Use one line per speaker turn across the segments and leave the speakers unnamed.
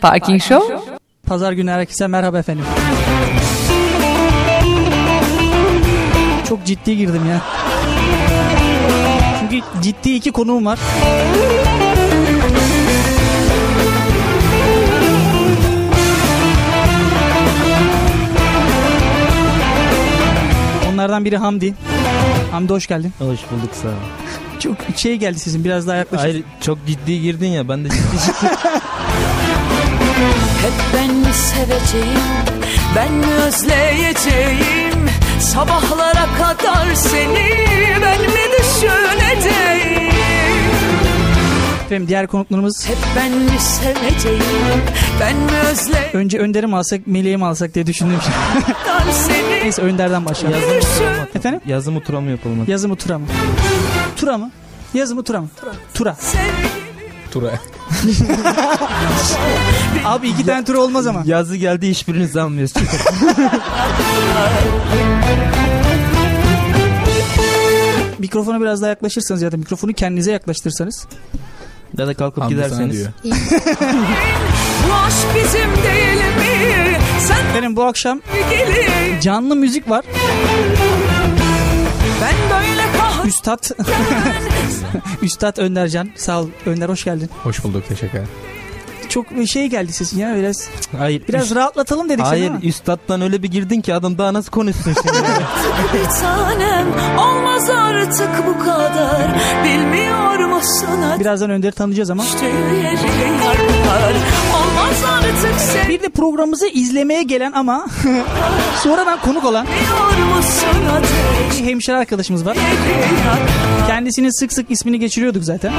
Parking Show.
Pazar günü herkese merhaba efendim. Çok ciddi girdim ya. Çünkü ciddi iki konuğum var. Onlardan biri Hamdi. Hamdi hoş geldin.
Hoş bulduk sağ ol.
Çok şey geldi sesin biraz daha yaklaşın.
Hayır çok ciddi girdin ya ben de ciddi ciddi.
Hep ben mi seveceğim, ben mi özleyeceğim Sabahlara kadar seni ben mi düşüneceğim
Efendim diğer konuklarımız
Hep ben mi seveceğim, ben mi özleyeceğim
önce Önder'i mi alsak Melih'i mi alsak diye düşündüm.
seni
Neyse Önder'den başlayalım.
Yazın
düşün
Efendim?
Yazım oturam yapalım. hadi.
Yazı mı tura mı? Tura mı? Yazı mı tura mı? Tura. Abi iki tane tura olmaz ama.
Yazı geldi hiçbirinizi almıyoruz.
Mikrofona biraz daha yaklaşırsanız ya da mikrofonu kendinize yaklaştırsanız.
ya da kalkıp
Hamdi sana
giderseniz.
diyor.
Bu aşk bizim değil mi? Sen
Benim bu akşam
mi gelin?
canlı müzik var.
Ben böyle kahrolsun
Üstad, Üstad Öndercan. Sağ ol Önder hoş geldin.
Hoş bulduk teşekkür ederim.
Çok şey geldi sesin ya biraz.
Hayır.
Biraz
üst-
rahatlatalım dedik
Hayır
seni ama.
üstattan öyle bir girdin ki adam daha nasıl konuşsun şimdi.
bir tanem Olmaz artık bu kadar Bilmiyor musun hadi
Birazdan Önder'i tanıyacağız ama.
Düştüğü yeri yakar Olmaz artık
Bir de programımızı izlemeye gelen ama sonradan konuk olan
sevmiyor musun ateş
bir hemşire arkadaşımız var.
Yeri yakar
Kendisinin sık sık ismini geçiriyorduk zaten.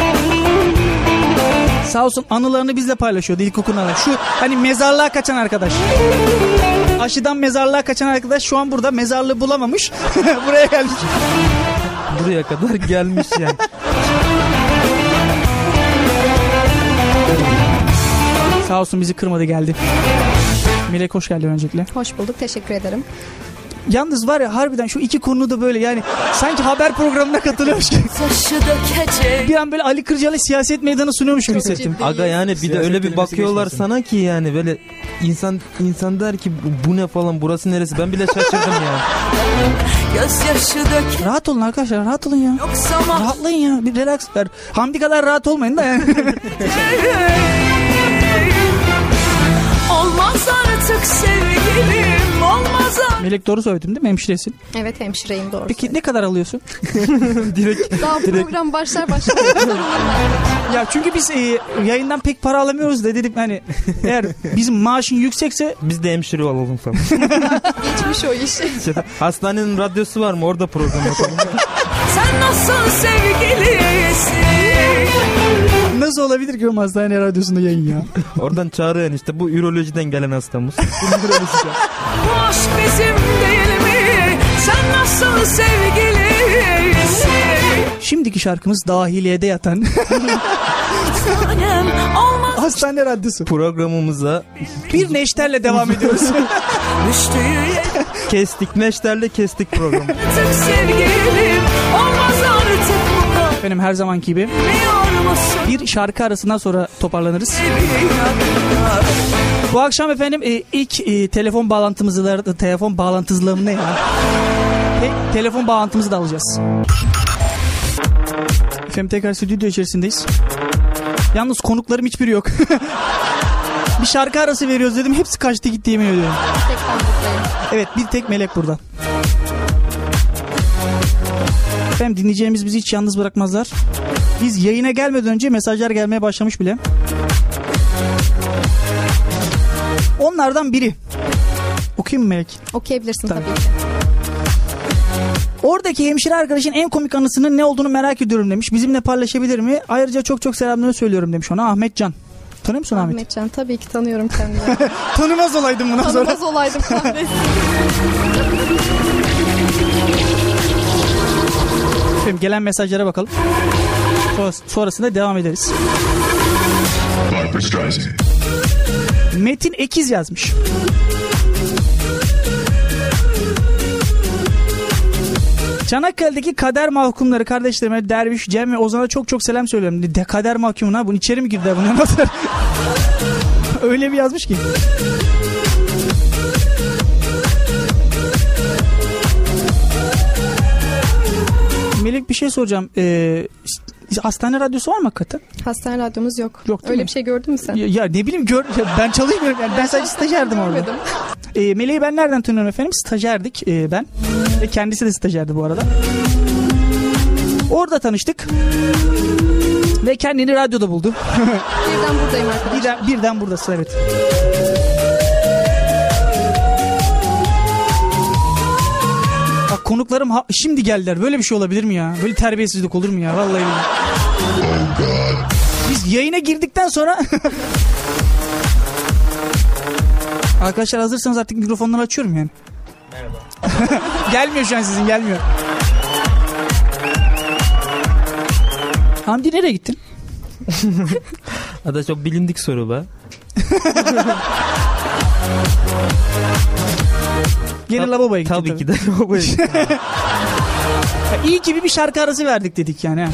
Sağ olsun anılarını bizle paylaşıyordu ilkokuluna. da. Şu hani mezarlığa kaçan arkadaş. Aşıdan mezarlığa kaçan arkadaş şu an burada mezarlığı bulamamış. Buraya gelmiş.
Buraya kadar gelmiş yani.
Sağ olsun bizi kırmadı geldi. Melek hoş geldin öncelikle.
Hoş bulduk, teşekkür ederim.
Yalnız var ya harbiden şu iki konuda da böyle yani sanki haber programına katılıyormuş gibi.
Taşı dökecek
Bir an böyle Ali Kırcalı siyaset meydanı sunuyormuş gibi hissettim.
ciddi.
Aga yani bir de
Siyaset
öyle bir
kelimesi
bakıyorlar
geçmesin.
sana ki yani böyle insan insan der ki "Bu- bu ne falan burası neresi ben bile şaşırdım ya.
Gözyaşı dökecek
Rahat olun arkadaşlar rahat olun ya.
Yok zaman
Rahatlayın ya bir relax ver. Hamdi kadar rahat olmayın da yani.
Olmaz artık sevgilim Olmaz artık
Melek doğru söyledim değil mi hemşiresin?
Evet hemşireyim doğru.
Peki ne kadar alıyorsun?
Direkt
Daha program başlar başlamaz.
Ya çünkü biz e, yayından pek para alamıyoruz da dedim hani eğer bizim maaşın yüksekse
biz de hemşire olalım falan.
Geçmiş o iş.
Hastanenin radyosu var mı orada program yapalım.
Sen nasıl sevgilisin
nasıl olabilir ki o hastane radyosunda yayın ya?
Oradan çağırıyor işte bu ürolojiden gelen hastamız.
Bu aşk bizim değil mi? Sen nasıl sevgilisin?
Şimdiki şarkımız dahiliyede yatan
Annem olmaz
hastane radyosu.
Programımıza
Bir neşterle devam ediyoruz.
Düştüğü yere
kestik meşterle kestik programı.
tık sevgilim Olmaz artık bu kadar
Benim her zamanki gibi
Biliyor musun?
bir şarkı arasından sonra toparlanırız.
Seviyorum.
Bu akşam efendim e, ilk e, telefon bağlantımızı da- telefon bağlantızlığım ne ya? Te- telefon bağlantımızı da alacağız. Efendim tekrar stüdyo içerisindeyiz. Yalnız konuklarım hiçbiri yok. bir şarkı arası veriyoruz dedim. Hepsi kaçtı gitti yemin ediyorum.
Tekrar buradayım.
Evet bir tek melek burada. Efendim dinleyeceğimiz bizi hiç yalnız bırakmazlar. Biz yayına gelmeden önce mesajlar gelmeye başlamış bile. Onlardan biri. Okuyayım mı Melek?
Okuyabilirsin
Tabii.
tabii. ki.
Oradaki hemşire arkadaşın en komik anısının ne olduğunu merak ediyorum demiş. Bizimle paylaşabilir mi? Ayrıca çok çok selamlarını söylüyorum demiş ona Ahmet Can. Tanıyor musun Ahmet?
Ahmetcan tabii ki tanıyorum kendimi.
Tanımaz olaydım bundan
Tanımaz olaydım kahretsin.
Efendim gelen mesajlara bakalım. Sonras- Sonrasında devam ederiz.
Barbra Streisand.
Metin Ekiz yazmış. Çanakkale'deki kader mahkumları kardeşlerime Derviş, Cem ve Ozan'a çok çok selam söylüyorum. De kader mahkumuna bunu içeri mi girdi bunlar nasıl? öyle bir yazmış ki. Melek bir şey soracağım. Ee, s- hastane radyosu var mı hakikaten?
Hastane radyomuz yok.
Yok, değil
Öyle
mi?
bir şey gördün mü sen?
Ya, ya ne bileyim gör, ya ben çalışmıyorum yani ben sadece stajyerdim orada.
Görmedim.
E, Meleği ben nereden tanıyorum efendim? Stajyerdik e, ben. Ve kendisi de stajyerdi bu arada. Orada tanıştık. Ve kendini radyoda buldu.
Birden buradayım arkadaşlar.
birden, birden buradasın evet. Bak konuklarım ha- şimdi geldiler. Böyle bir şey olabilir mi ya? Böyle terbiyesizlik olur mu ya? Vallahi billahi. Biz yayına girdikten sonra... Arkadaşlar hazırsanız artık mikrofonları açıyorum yani. Merhaba. gelmiyor şu an sizin gelmiyor. Hamdi nereye gittin?
Ada çok bilindik soru be.
Gene
Tab-
lavaboya gittin.
Tabii ki de lavaboya gittim.
İyi ki bir- bir şarkı arası verdik dedik yani. ha.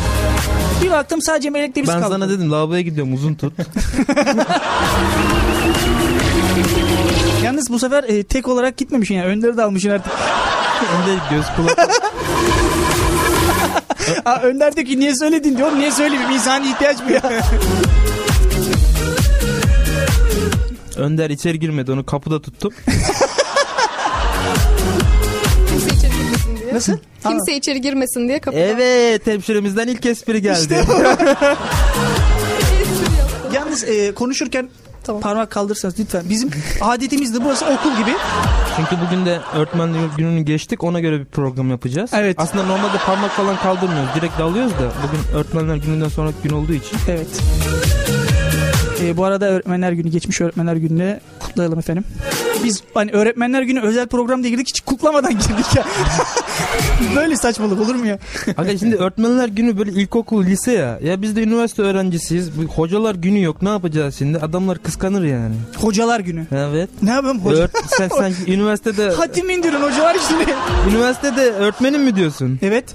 Bir baktım sadece Melek'le biz
ben
kaldık.
sana dedim lavaboya gidiyorum uzun tut.
Yalnız bu sefer e, tek olarak gitmemişsin yani. Önder'i de almışsın artık.
Önde göz kulak.
Aa, Önder diyor ki niye söyledin diyor. Niye söyleyeyim? İnsani ihtiyaç bu ya.
Önder içeri girmedi onu kapıda tuttum.
Kimse içeri girmesin diye.
Nasıl?
Kimse içeri girmesin diye kapıdan.
Evet hemşiremizden ilk espri geldi.
Aa, Yalnız e, konuşurken
Tamam.
parmak kaldırırsanız lütfen. Bizim adetimizdi. Burası okul gibi.
Çünkü bugün de öğretmenlik gününü geçtik ona göre bir program yapacağız.
Evet.
Aslında normalde parmak falan kaldırmıyoruz direkt dalıyoruz da bugün öğretmenler gününden sonraki gün olduğu için.
Evet. E, bu arada öğretmenler günü geçmiş öğretmenler gününe kutlayalım efendim. Biz hani öğretmenler günü özel program diye girdik hiç kutlamadan girdik ya. Böyle saçmalık olur mu ya?
Aga şimdi öğretmenler günü böyle ilkokul lise ya. Ya biz de üniversite öğrencisiyiz. Bu hocalar günü yok ne yapacağız şimdi adamlar kıskanır yani.
Hocalar günü.
Evet.
Ne yapayım hoca?
Öğret sen, sen üniversitede
Hatim indirin hocalar şimdi.
üniversitede öğretmenim mi diyorsun?
Evet.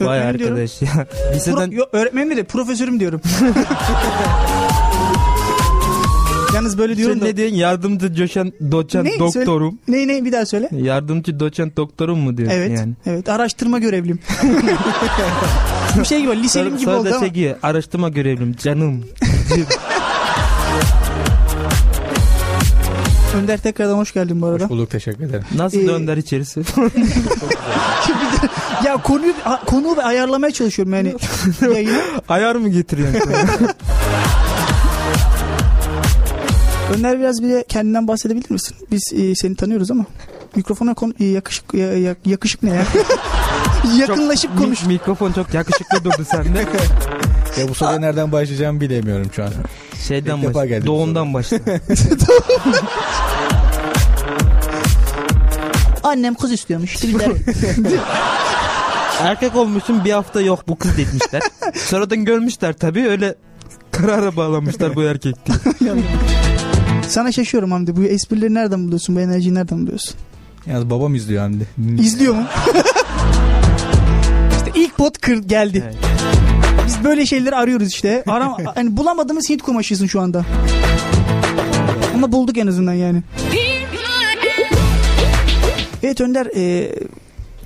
Vay
Öğretmenim diyorum.
arkadaş ya. Liseden
Pro- yo, öğretmenim değil de profesörüm diyorum. Yalnız böyle diyorum
Sen
da.
ne diyorsun? Yardımcı coşan doçent
Ne? Söyle.
doktorum.
Ney ney bir daha söyle.
Yardımcı doçent doktorum mu diyorsun
Evet.
yani?
Evet. Araştırma görevlim. Bir şey gibi liselim gibi
sonra
oldu
da
ama.
şey gibi, araştırma görevlim canım.
Önder tekrardan hoş geldin bu arada.
Hoş bulduk teşekkür ederim.
Nasıl
Ee,
dönder içerisi?
Bir de- ya konuyu a- konuyu bir ayarlamaya çalışıyorum yani. Yayını.
Ayar mı getiriyorsun?
Önder biraz bir de kendinden bahsedebilir misin? Biz e, seni tanıyoruz ama mikrofona konu e, yakışık ya- ya- yakışık ne ya? Yakınlaşıp
Mi-
konuş.
mikrofon çok yakışıklı durdu sende.
Ya bu soruya nereden başlayacağımı bilemiyorum şu an.
Şeyden
İlk defa
başla.
geldi bu
Doğumdan başla.
Annem kız istiyormuş. Triller.
Erkek olmuşsun bir hafta yok bu kız demişler. Sonradan görmüşler tabii öyle karara bağlamışlar bu erkek diye.
Sana şaşıyorum Hamdi. Bu esprileri nereden buluyorsun? Bu enerjiyi nereden buluyorsun?
Yalnız babam izliyor Hamdi.
İzliyor mu? işte ilk pot kır geldi.
Evet.
Biz böyle şeyleri arıyoruz işte. Aram, hani bulamadığımız sitcom aşısın şu anda. Ama bulduk en azından yani. Evet Önder e,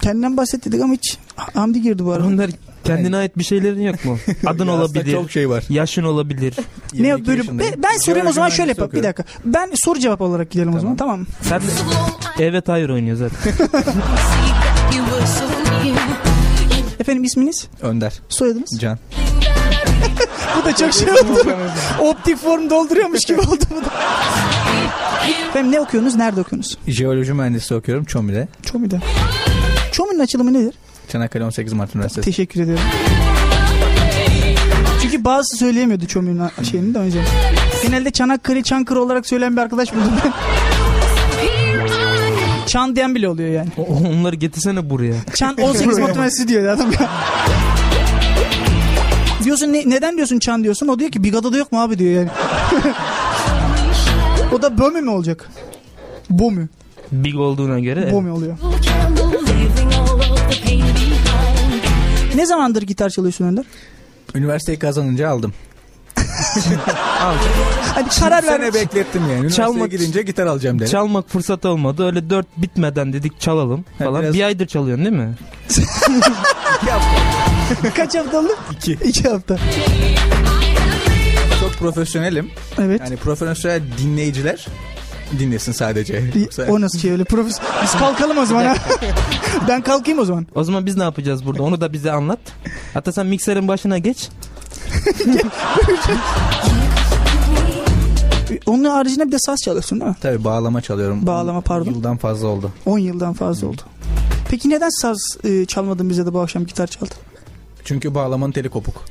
kendinden bahset dedik ama hiç Hamdi girdi bu arada.
Onlar kendine ait bir şeylerin yok mu? Adın
Ya aslında
olabilir.
Çok şey var.
Yaşın olabilir.
Ne
22
böyle
yaşındayım.
ben, ben sorayım o zaman şöyle
Jeoloji
yapalım. Bir dakika. Ben soru cevap olarak gidelim o zaman tamam mı?
Sen de- evet hayır oynuyor zaten.
Efendim isminiz?
okuyorum. Önder.
Soyadınız?
Can.
Bu da çok şey oldu. Optik form dolduruyormuş gibi oldu bu da. Efendim ne okuyorsunuz? Nerede okuyorsunuz?
Jeoloji mühendisi okuyorum Çomi'de.
Çomi'de. Çomi'nin açılımı nedir?
Çanakkale 18 Mart Üniversitesi.
Teşekkür ederim. Çünkü bazısı söyleyemiyordu Çomi'nin a- şeyini de önce. Genelde Çanakkale, Çankırı olarak söyleyen bir arkadaş buldum ben. Çan diyen bile oluyor yani.
O- Onları getirsene buraya.
Çan 18 Mart Üniversitesi diyor ya adam ya. Diyorsun "Ne- neden diyorsun Çan diyorsun. O diyor ki Bigada'da yok mu abi diyor yani. o da Bömü mü olacak? Bomü.
Big olduğuna göre. evet.
Bomü oluyor. Ne zamandır gitar çalıyorsun Önder?
Üniversiteyi kazanınca aldım.
Al.
Hani
Karar
karar
sene
vermek.
beklettim yani. Üniversiteye
Çalmak-
gidince gitar alacağım dedim.
Çalmak fırsat olmadı. Öyle dört bitmeden dedik çalalım
Ha,
falan.
biraz-
Bir aydır çalıyorsun değil mi?
Kaç haftalık?
İki.
İki hafta.
Çok profesyonelim.
Evet.
Yani profesyonel dinleyiciler dinlesin sadece.
Bir-
Yoksa-
o nasıl şey öyle profesör. Biz kalkalım o zaman ha. ben kalkayım o zaman.
O zaman biz ne yapacağız burada? Onu da bize anlat. Hatta sen mikserin başına geç.
Onun haricinde bir de saz çalıyorsun değil mi?
Tabii bağlama çalıyorum.
Bağlama, pardon.
Yıldan fazla oldu.
10 yıldan fazla oldu. Peki neden saz e, çalmadın bize de bu akşam gitar çaldın?
Çünkü bağlamanın teli kopuk.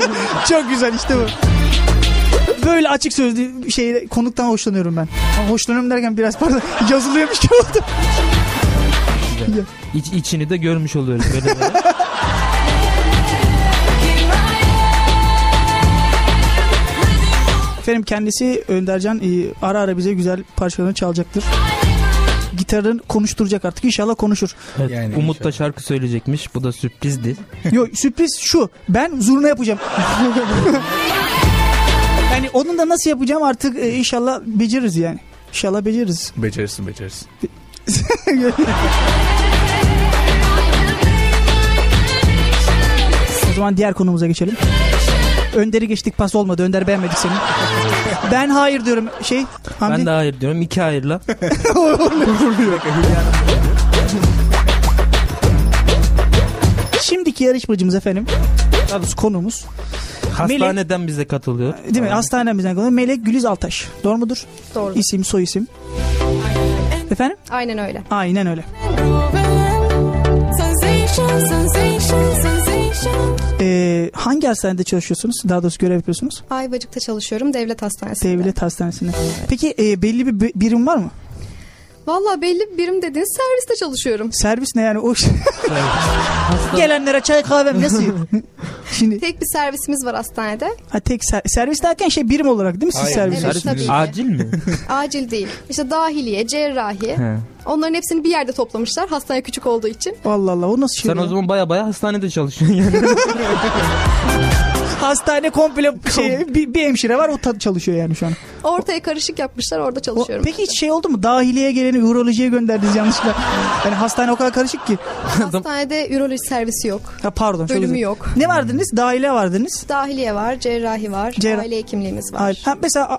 Çok güzel işte bu. Böyle açık sözlü şey konuktan hoşlanıyorum ben. Ama hoşlanıyorum derken biraz pardon yazılıyormuş gibi oldu.
İç, içini de görmüş oluyoruz böyle böyle.
Efendim kendisi Öndercan e, ara ara bize güzel parçalarını çalacaktır. Gitarın konuşturacak artık inşallah konuşur.
Evet,
Yani
Umut da
inşallah.
şarkı söyleyecekmiş. Bu da sürprizdi.
Yo sürpriz şu. Ben zurna yapacağım. yani onun da nasıl yapacağım artık e, inşallah beceririz yani. İnşallah beceririz.
Becerirsin becerirsin.
O zaman diğer konumuza geçelim. Önder'i geçtik pas olmadı. Önder beğenmedik seni. Ben hayır diyorum şey. Hamdi.
Ben de hayır diyorum. iki hayırla.
Şimdiki yarışmacımız efendim. Daha doğrusu konumuz.
Hastaneden bize katılıyor.
Değil mi? Hastanemizden konumuz. Melek Güliz Altaş. Doğru mudur?
Doğru.
İsim soy isim. Efendim?
Aynen öyle.
Aynen öyle. Ee, hangi hastanede çalışıyorsunuz? Daha doğrusu görev yapıyorsunuz?
Ayvacık'ta çalışıyorum devlet hastanesinde.
Devlet hastanesinde. Peki e, belli bir bi- birim var mı?
Valla belli bir birim dediniz serviste çalışıyorum.
Servis ne yani? O
Hasta-
gelenlere çay kahvem nasıl? Şimdi
Tek bir servisimiz var hastanede.
ha, tek ser- servis derken şey birim olarak değil mi siz
Hayır,
servis?
Evet, tabii ki.
Acil mi?
Acil değil. İşte dahiliye, cerrahi.
He.
Onların hepsini bir yerde toplamışlar hastane küçük olduğu için.
Allah Allah o nasıl şey?
Sen
ya?
o zaman baya baya hastanede çalışıyorsun yani.
Hastane komple şey, bir, bir hemşire var o ta- çalışıyor yani şu an.
Ortaya karışık yapmışlar orada
O-
çalışıyorum.
peki hiç şey oldu mu? Dahiliye geleni urolojiye gönderdiniz yanlışlıkla. Yani hastane o kadar karışık ki.
Hastanede üroloji servisi yok.
Ha, pardon. şöyle
Bölümü
söyleyeyim.
yok.
Ne vardınız? Dahiliye vardınız.
Dahiliye var, cerrahi var,
Cerrah-
aile hekimliğimiz var.
Ha, mesela a,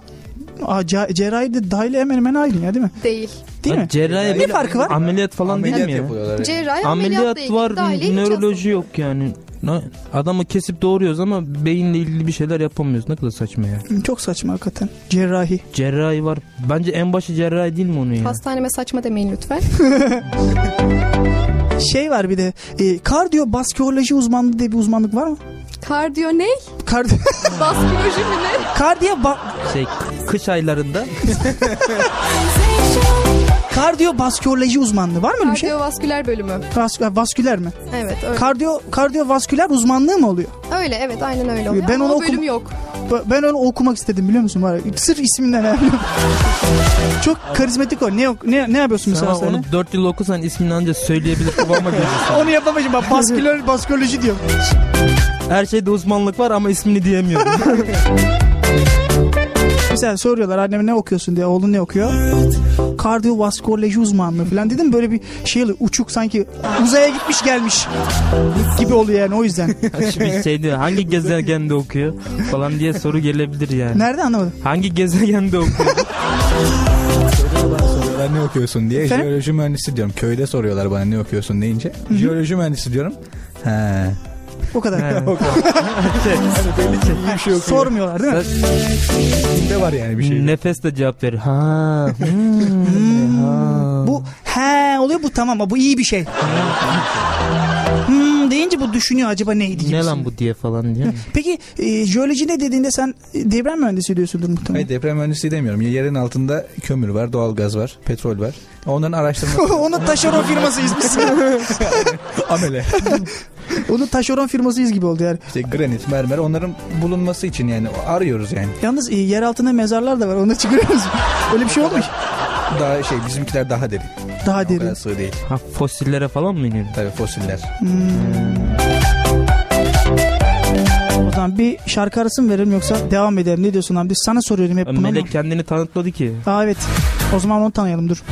a, ce- cerrahi de dahiliye hemen hemen aynı ya değil mi?
Değil.
Değil mi?
Cerrahi
Ne
böyle
farkı var?
Ameliyat falan
Ameliyat
değil mi ya?
yapıyorlar.
Cerrahi ameliyatla
Ameliyat
ilgili
var,
dahiliye hiç
nöroloji yok yani. Ne- Adamı kesip doğuruyoruz ama beyinle ilgili bir şeyler yapamıyoruz. Ne kadar saçma ya.
Çok saçma hakikaten. Cerrahi.
Cerrahi var. Bence en başı cerrahi değil mi onun ya?
Hastaneme saçma demeyin lütfen.
Şey var bir de e, kardiyo baskiyoloji uzmanlığı diye bir uzmanlık var mı?
Kardiyo ne?
Kard
Baskiyoloji mi ne?
kardiyo ba-
Şey, kış aylarında
kardiyo baskiyoloji uzmanlığı var mı öyle bir şey?
Kardiyovasküler bölümü.
Vas- ha, vasküler mi?
Evet öyle.
Kardiyo kardiyovasküler uzmanlığı mı oluyor?
öyle evet aynen öyle oluyor.
Ben
Ama
onu
o bölüm
okum-
yok.
Ba- Ben onu okumak istedim biliyor musun? Var ya, sırf isminden yani. Çok karizmatik o. Ne ok- ne ne yapıyorsun mesela
sana
sen?
onu 4 yıl okusan ismini ancak söyleyebilir kıvama gelirsin.
Onu yapamayacağım. Bak basküler baskiyoloji diyor.
Her şeyde uzmanlık var ama ismini diyemiyorum.
Mesela soruyorlar anneme ne okuyorsun diye. Oğlun ne okuyor? Kardiyovasküler uzmanlığı falan dedim. Böyle bir şey oluyor. Uçuk sanki uzaya gitmiş gelmiş gibi oluyor yani o yüzden.
Şimdi şey diyor hangi gezegende okuyor falan diye soru gelebilir yani.
Nerede anlamadım.
Hangi gezegende okuyor?
Soruyorlar ne okuyorsun diye.
Efendim?
Jeoloji mühendisi diyorum. Köyde soruyorlar bana ne okuyorsun deyince. Jeoloji mühendisi diyorum. He.
O kadar.
He.
Bir şey yok.
Sormuyorlar değil mi?
Ne var yani bir şey.
Nefes de cevap verir. Ha. hmm, ha.
Bu he oluyor bu tamam bu iyi bir şey. hmm, deyince bu düşünüyor acaba neydi gibi.
ne lan bu diye falan diyor.
Peki e, jeoloji ne dediğinde sen e, deprem mühendisi diyorsundur
Hayır
muhtemelen.
deprem mühendisi demiyorum. Ya Yerin altında kömür var, doğalgaz var, petrol var. Onların araştırma
Onu taşeron firmasıyız biz.
amele.
Onu taşeron firmasıyız gibi oldu yani.
İşte granit, mermer onların bulunması için yani arıyoruz yani.
Yalnız e, yer altında mezarlar da var. Onu çıkarıyoruz. Öyle bir şey olmuş.
Daha şey bizimkiler daha derin.
Daha
O kadar
derin.
sığ değil.
Ha fosillere falan mı iniyor?
Tabii fosiller.
O zaman bir şarkı arası mı verelim yoksa devam edelim? Ne diyorsun abi? Sana soruyorum hep bunu. ama-
Melek kendini tanıtmadı ki.
Aa evet. O zaman onu tanıyalım dur.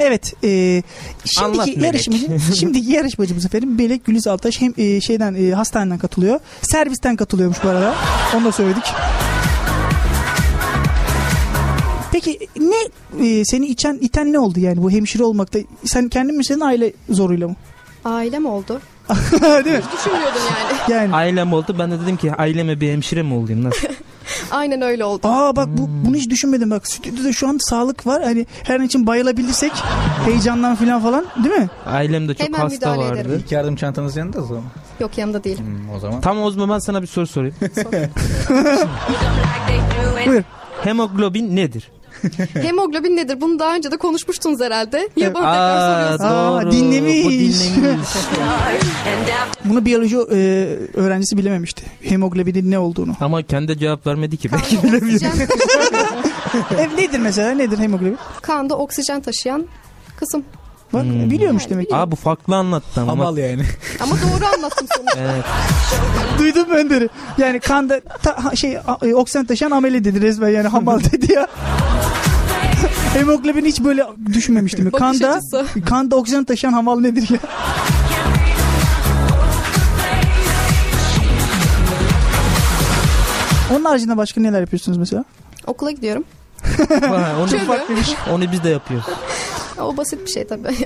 Evet, e, şimdiki
Anlat Melek.
yarışmacı, şimdiki yarışmacımız efendim Melek Güliz Altaş hem e, şeyden e, hastaneden katılıyor, servisten katılıyormuş bu arada. Onu da söyledik. Peki ne e, seni içen iten ne oldu yani bu hemşire olmakta? Sen kendin mi senin aile zoruyla mı?
Ailem oldu.
Değil mi?
Hiç düşünmüyordum yani.
Yani.
Ailem oldu. Ben de dedim ki aileme bir hemşire mi olayım nasıl?
Aynen öyle oldu.
Aa bak bu, bunu hiç düşünmedim bak stüdyoda şu an sağlık var hani her an için bayılabilirsek heyecandan filan falan değil mi?
Ailem de çok
Hemen
hasta
müdahale
vardı.
ederim.
İlk yardım çantanız yanında o zaman.
Yok yanımda değilim.
Hmm, o zaman.
Tam o zaman ben sana bir soru sorayım.
Buyur.
Hemoglobin nedir?
Hemoglobin nedir? Bunu daha önce de konuşmuştunuz herhalde. Niye bana tekrar
Aa,
soruyorsun?
Aa,
doğru.
dinlemiş.
Bu dinlemiş.
Bunu biyoloji e, öğrencisi bilememişti hemoglobinin ne olduğunu.
Ama kendi cevap vermedi ki. Belki
Kanda oksijen,
e, nedir mesela nedir hemoglobin?
kanda oksijen taşıyan kısım.
Bak
Hmm.
biliyormuş demek ki.
Aa bu farklı anlattı ama.
Hamal yani.
Ama doğru anlattım sonuçta.
Evet.
Duydun mu Önder'i? Yani kanda ta- ha- şey a- e, oksijen taşıyan amele dedi resmen yani hamal dedi ya. Hemoglobin hiç böyle düşünmemiştim.
Bakış
Kanda,
açısı.
kanda oksijen taşıyan hamal nedir ya? Onun haricinde başka neler yapıyorsunuz mesela?
Okula gidiyorum.
Vay, onu, şey.
Çölü.
onu biz de yapıyoruz.
O basit bir şey tabii.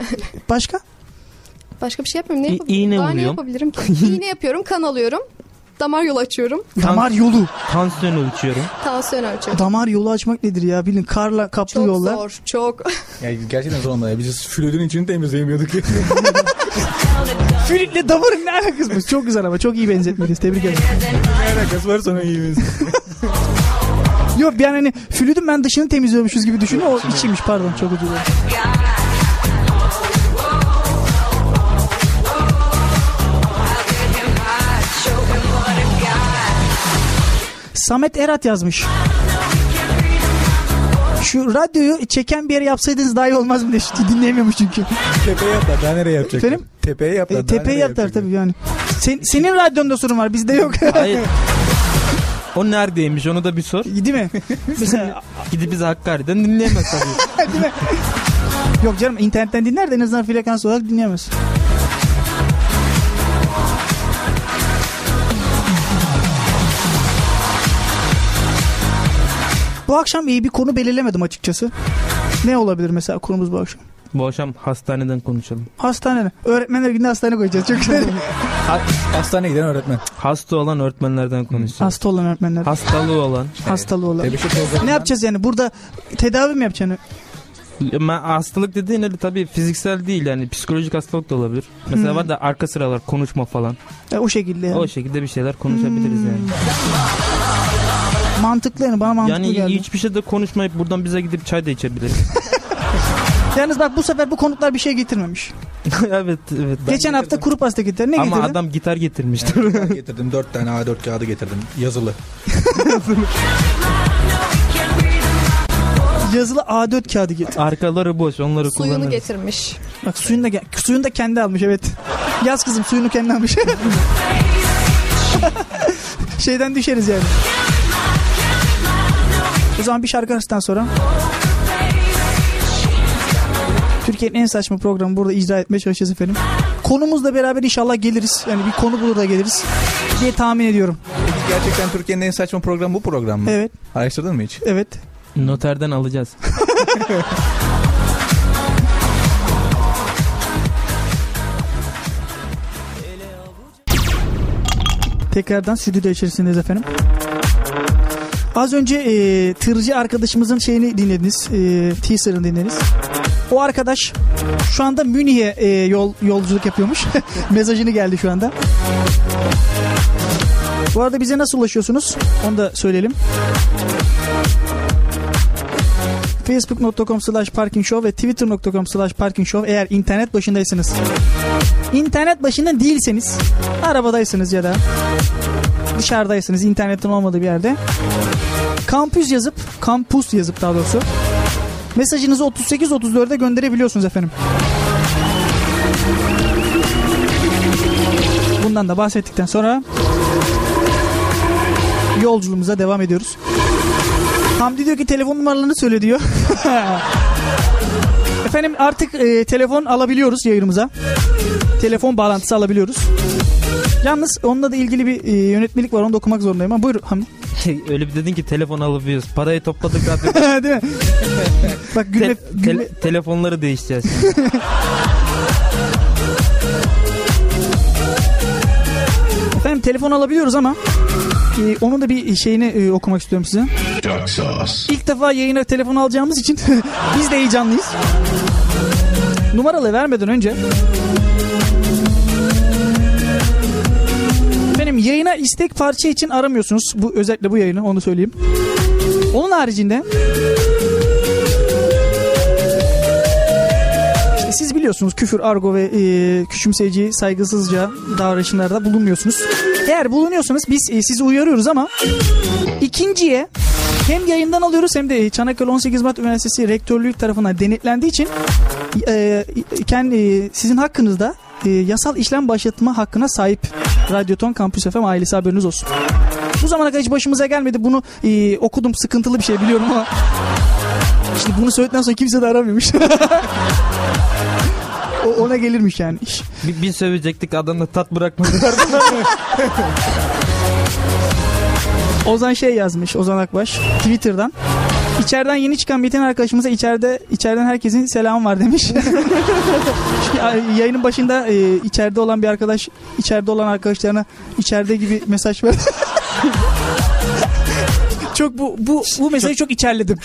Başka?
Başka bir şey yapmıyorum. Ne
İ-
yapabilirim?
iğne
Daha ne
vuruyorum.
yapabilirim ki? İğne yapıyorum, kan alıyorum. Damar yolu açıyorum,
Damar yolu.
Tansiyon ölçüyorum.
tansiyon ölçüyorum.
Damar yolu açmak nedir ya? Bilin karla kaplı
Çok
yollar.
zor, çok.
yani gerçekten zor onlar ya. Biz flütün içini temizleyemiyorduk.
Flütle damarın ne alakası var? Çok güzel ama çok iyi benzetmeniz. Tebrik ederim.
Alakası var sonra iyiyimiz.
Yok yani hani flütün ben dışını temizliyormuşuz gibi düşünün. O içiymiş pardon çok özür dilerim. Samet Erat yazmış. Şu radyoyu çeken bir yere yapsaydınız daha iyi olmaz mı diye Şimdi dinleyemiyormuş çünkü.
Tepeye yaptılar. Daha nereye yapacak?
Efendim?
Tepeye yaptılar.
E,
daha
tepeye
nereye
yaptılar
yapacak?
tabii yani. Sen, senin radyonda sorun var bizde yok.
Hayır. O neredeymiş onu da bir sor.
Değil mi? Mesela
Gidip bizi Hakkari'den dinleyemez tabii.
Yok canım internetten dinler de en azından frekans olarak dinleyemez. Bu akşam iyi bir konu belirlemedim açıkçası. Ne olabilir mesela konumuz bu akşam?
Bu akşam hastaneden konuşalım.
Hastane. Öğretmenler günde hastane koyacağız. Çünkü
Hastaneye giden öğretmen.
Hasta olan öğretmenlerden konuşalım.
hasta olan öğretmenler.
Hastalığı olan.
Hastalığı olan.
Tebeşir programı.
Ne yapacağız yani? Burada tedavi mi yapacaksın?
Ma- Hastalık dediğin öyle tabii fiziksel değil yani psikolojik hastalık da olabilir. Mesela
Hmm.
var da arka sıralar konuşma falan.
E, o şekilde yani.
O şekilde bir şeyler konuşabiliriz
Hmm,
yani.
Mantıklı yani. Bana mantıklı
Yani
geldi.
hiçbir şey de konuşmayıp buradan bize gidip çay da içebiliriz.
Yalnız bak bu sefer bu konuklar bir şey getirmemiş.
evet evet. Ben-
Geçen hafta kuru pasta getirdi. Ne
Ama
getirdi?
adam gitar getirmişti.
Ben getirdim. Dört tane A4 kağıdı getirdim. Yazılı.
Yazılı A4 kağıdı getir.
Arkaları boş onları
Suyunu
kullanırız.
getirmiş.
Bak suyunu da, ge- suyunu da kendi almış evet. Yaz kızım suyunu kendi almış. Şeyden düşeriz yani. O zaman bir şarkı arasından sonra. Türkiye'nin en saçma programı burada icra etmeye çalışacağız efendim. Konumuzla beraber inşallah geliriz. Yani bir konu bulur da geliriz diye tahmin ediyorum.
Peki gerçekten Türkiye'nin en saçma programı bu program mı?
Evet,
Araştırdın mı hiç?
evet.
Noterden alacağız.
Tekrardan stüdyo içerisindeyiz efendim. Az önce e, tırcı arkadaşımızın şeyini dinlediniz. E, teaser'ını dinlediniz. O arkadaş şu anda Münih'e e, yol, yolculuk yapıyormuş. Mesajını geldi şu anda. Bu arada bize nasıl ulaşıyorsunuz? Onu da söyleyelim. Facebook.com slash Parking Show ve Twitter.com slash Parking Show eğer internet başındaysanız. İnternet başında değilseniz, arabadaysınız ya da dışarıdaysınız internetin olmadığı bir yerde kampüs yazıp kampus yazıp daha doğrusu mesajınızı 38-34'e gönderebiliyorsunuz efendim. Ondan da bahsettikten sonra yolculuğumuza devam ediyoruz. Hamdi diyor ki telefon numaralarını söyle diyor. Efendim artık e, telefon alabiliyoruz yayınımıza. Telefon bağlantısı alabiliyoruz. Yalnız onunla da ilgili bir e, yönetmelik var onu da okumak zorundayım ama buyur Hamdi.
Şey, Öyle bir dedin ki telefon alabiliyoruz. Parayı topladık artık.
Değil mi? Bak gülme,
Te-
gülme,
tele- telefonları değişeceğiz.
Efendim telefon alabiliyoruz ama e, onun da bir şeyini e, okumak istiyorum size.
Duck sauce.
İlk defa yayına telefon alacağımız için biz de heyecanlıyız. Numaralı vermeden önce Efendim yayına istek parça için aramıyorsunuz. Bu özellikle bu yayını onu söyleyeyim. Onun haricinde İşte siz biliyorsunuz küfür, argo ve e, küçümseyici, saygısızca davranışlarda bulunmuyorsunuz. Eğer bulunuyorsanız biz e, sizi uyarıyoruz ama ikinciye hem yayından alıyoruz hem de e, Çanakkale 18 Mart Üniversitesi Rektörlüğü tarafından denetlendiği için e, kendi sizin hakkınızda e, yasal işlem başlatma hakkına sahip Radyoton Kampüs FM ailesi haberiniz olsun. Bu zamana kadar hiç başımıza gelmedi. Bunu e, okudum sıkıntılı bir şey biliyorum ama işte bunu söyledikten sonra kimse de aramıyormuş. o, ona gelirmiş yani iş.
bir, bir sövecektik adam da tat bırakmadı.
Ozan şey yazmış Ozan Akbaş Twitter'dan. İçeriden yeni çıkan biten arkadaşımıza içeride içeriden herkesin selamı var demiş. Çünkü yayının başında e, içeride olan bir arkadaş içeride olan arkadaşlarına içeride gibi mesaj verdi. çok bu bu bu mesajı çok içerledim.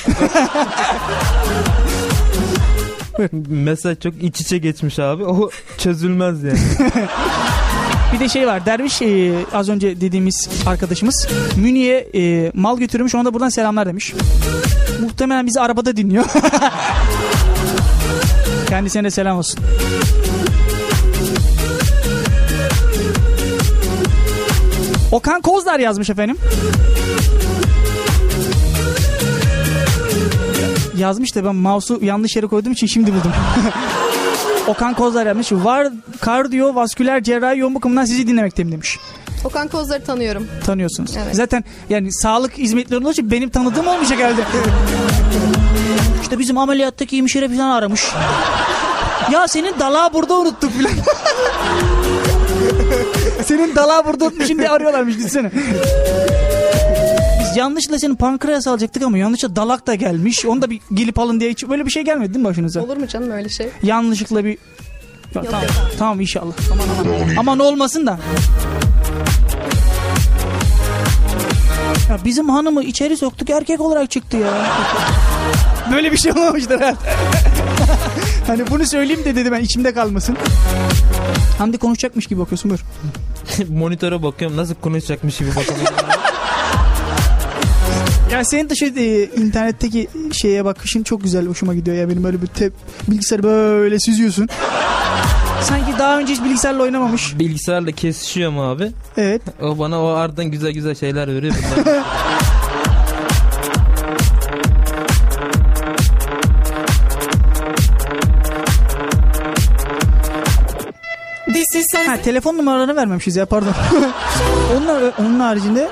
Mesaj çok iç içe geçmiş abi. O çözülmez yani.
Bir de şey var derviş e, az önce dediğimiz arkadaşımız Münih'e e, mal götürmüş ona da buradan selamlar demiş. Muhtemelen bizi arabada dinliyor. Kendisine de selam olsun. Okan Kozdar yazmış efendim. Yazmış da ben mouse'u yanlış yere koyduğum için şimdi buldum. Okan Kozlar yapmış. Var kardiyovasküler cerrahi yoğun bakımından sizi dinlemekteyim demiş.
Okan Kozlar'ı tanıyorum.
Tanıyorsunuz.
Evet.
Zaten yani sağlık hizmetleri olduğu için benim tanıdığım olmayacak herhalde. işte bizim ameliyattaki hemşire falan aramış. ya senin dalağı burada unuttuk falan. senin dalağı burada unutmuş şimdi arıyorlarmış gitsene. Biz yanlışla senin pankreas alacaktık ama yanlışla dalak da gelmiş. Onu da bir gelip alın diye hiç böyle bir şey gelmedi değil mi başınıza?
Olur mu canım öyle şey?
yanlışlıkla bir Ya tamam, tamam inşallah. Aman aman. Aman olmasın da. Ya bizim hanımı içeri soktuk erkek olarak çıktı ya. Böyle bir şey olmamıştır herhalde. hani bunu söyleyeyim de dedi ben içimde kalmasın. Hamdi konuşacakmış gibi bakıyorsun buyur.
Monitöre bakıyorum nasıl konuşacakmış gibi bakalım.
Ya senin de şu e, internetteki şeye bakışın çok güzel hoşuma gidiyor ya benim böyle bir tep, bilgisayarı böyle süzüyorsun. Sanki daha önce hiç bilgisayarla oynamamış.
Bilgisayarla kesişiyorum abi.
Evet.
O bana o ardından güzel güzel şeyler veriyor. Bunlar-
Ha telefon numaralarını vermemişiz ya pardon. onun, onun haricinde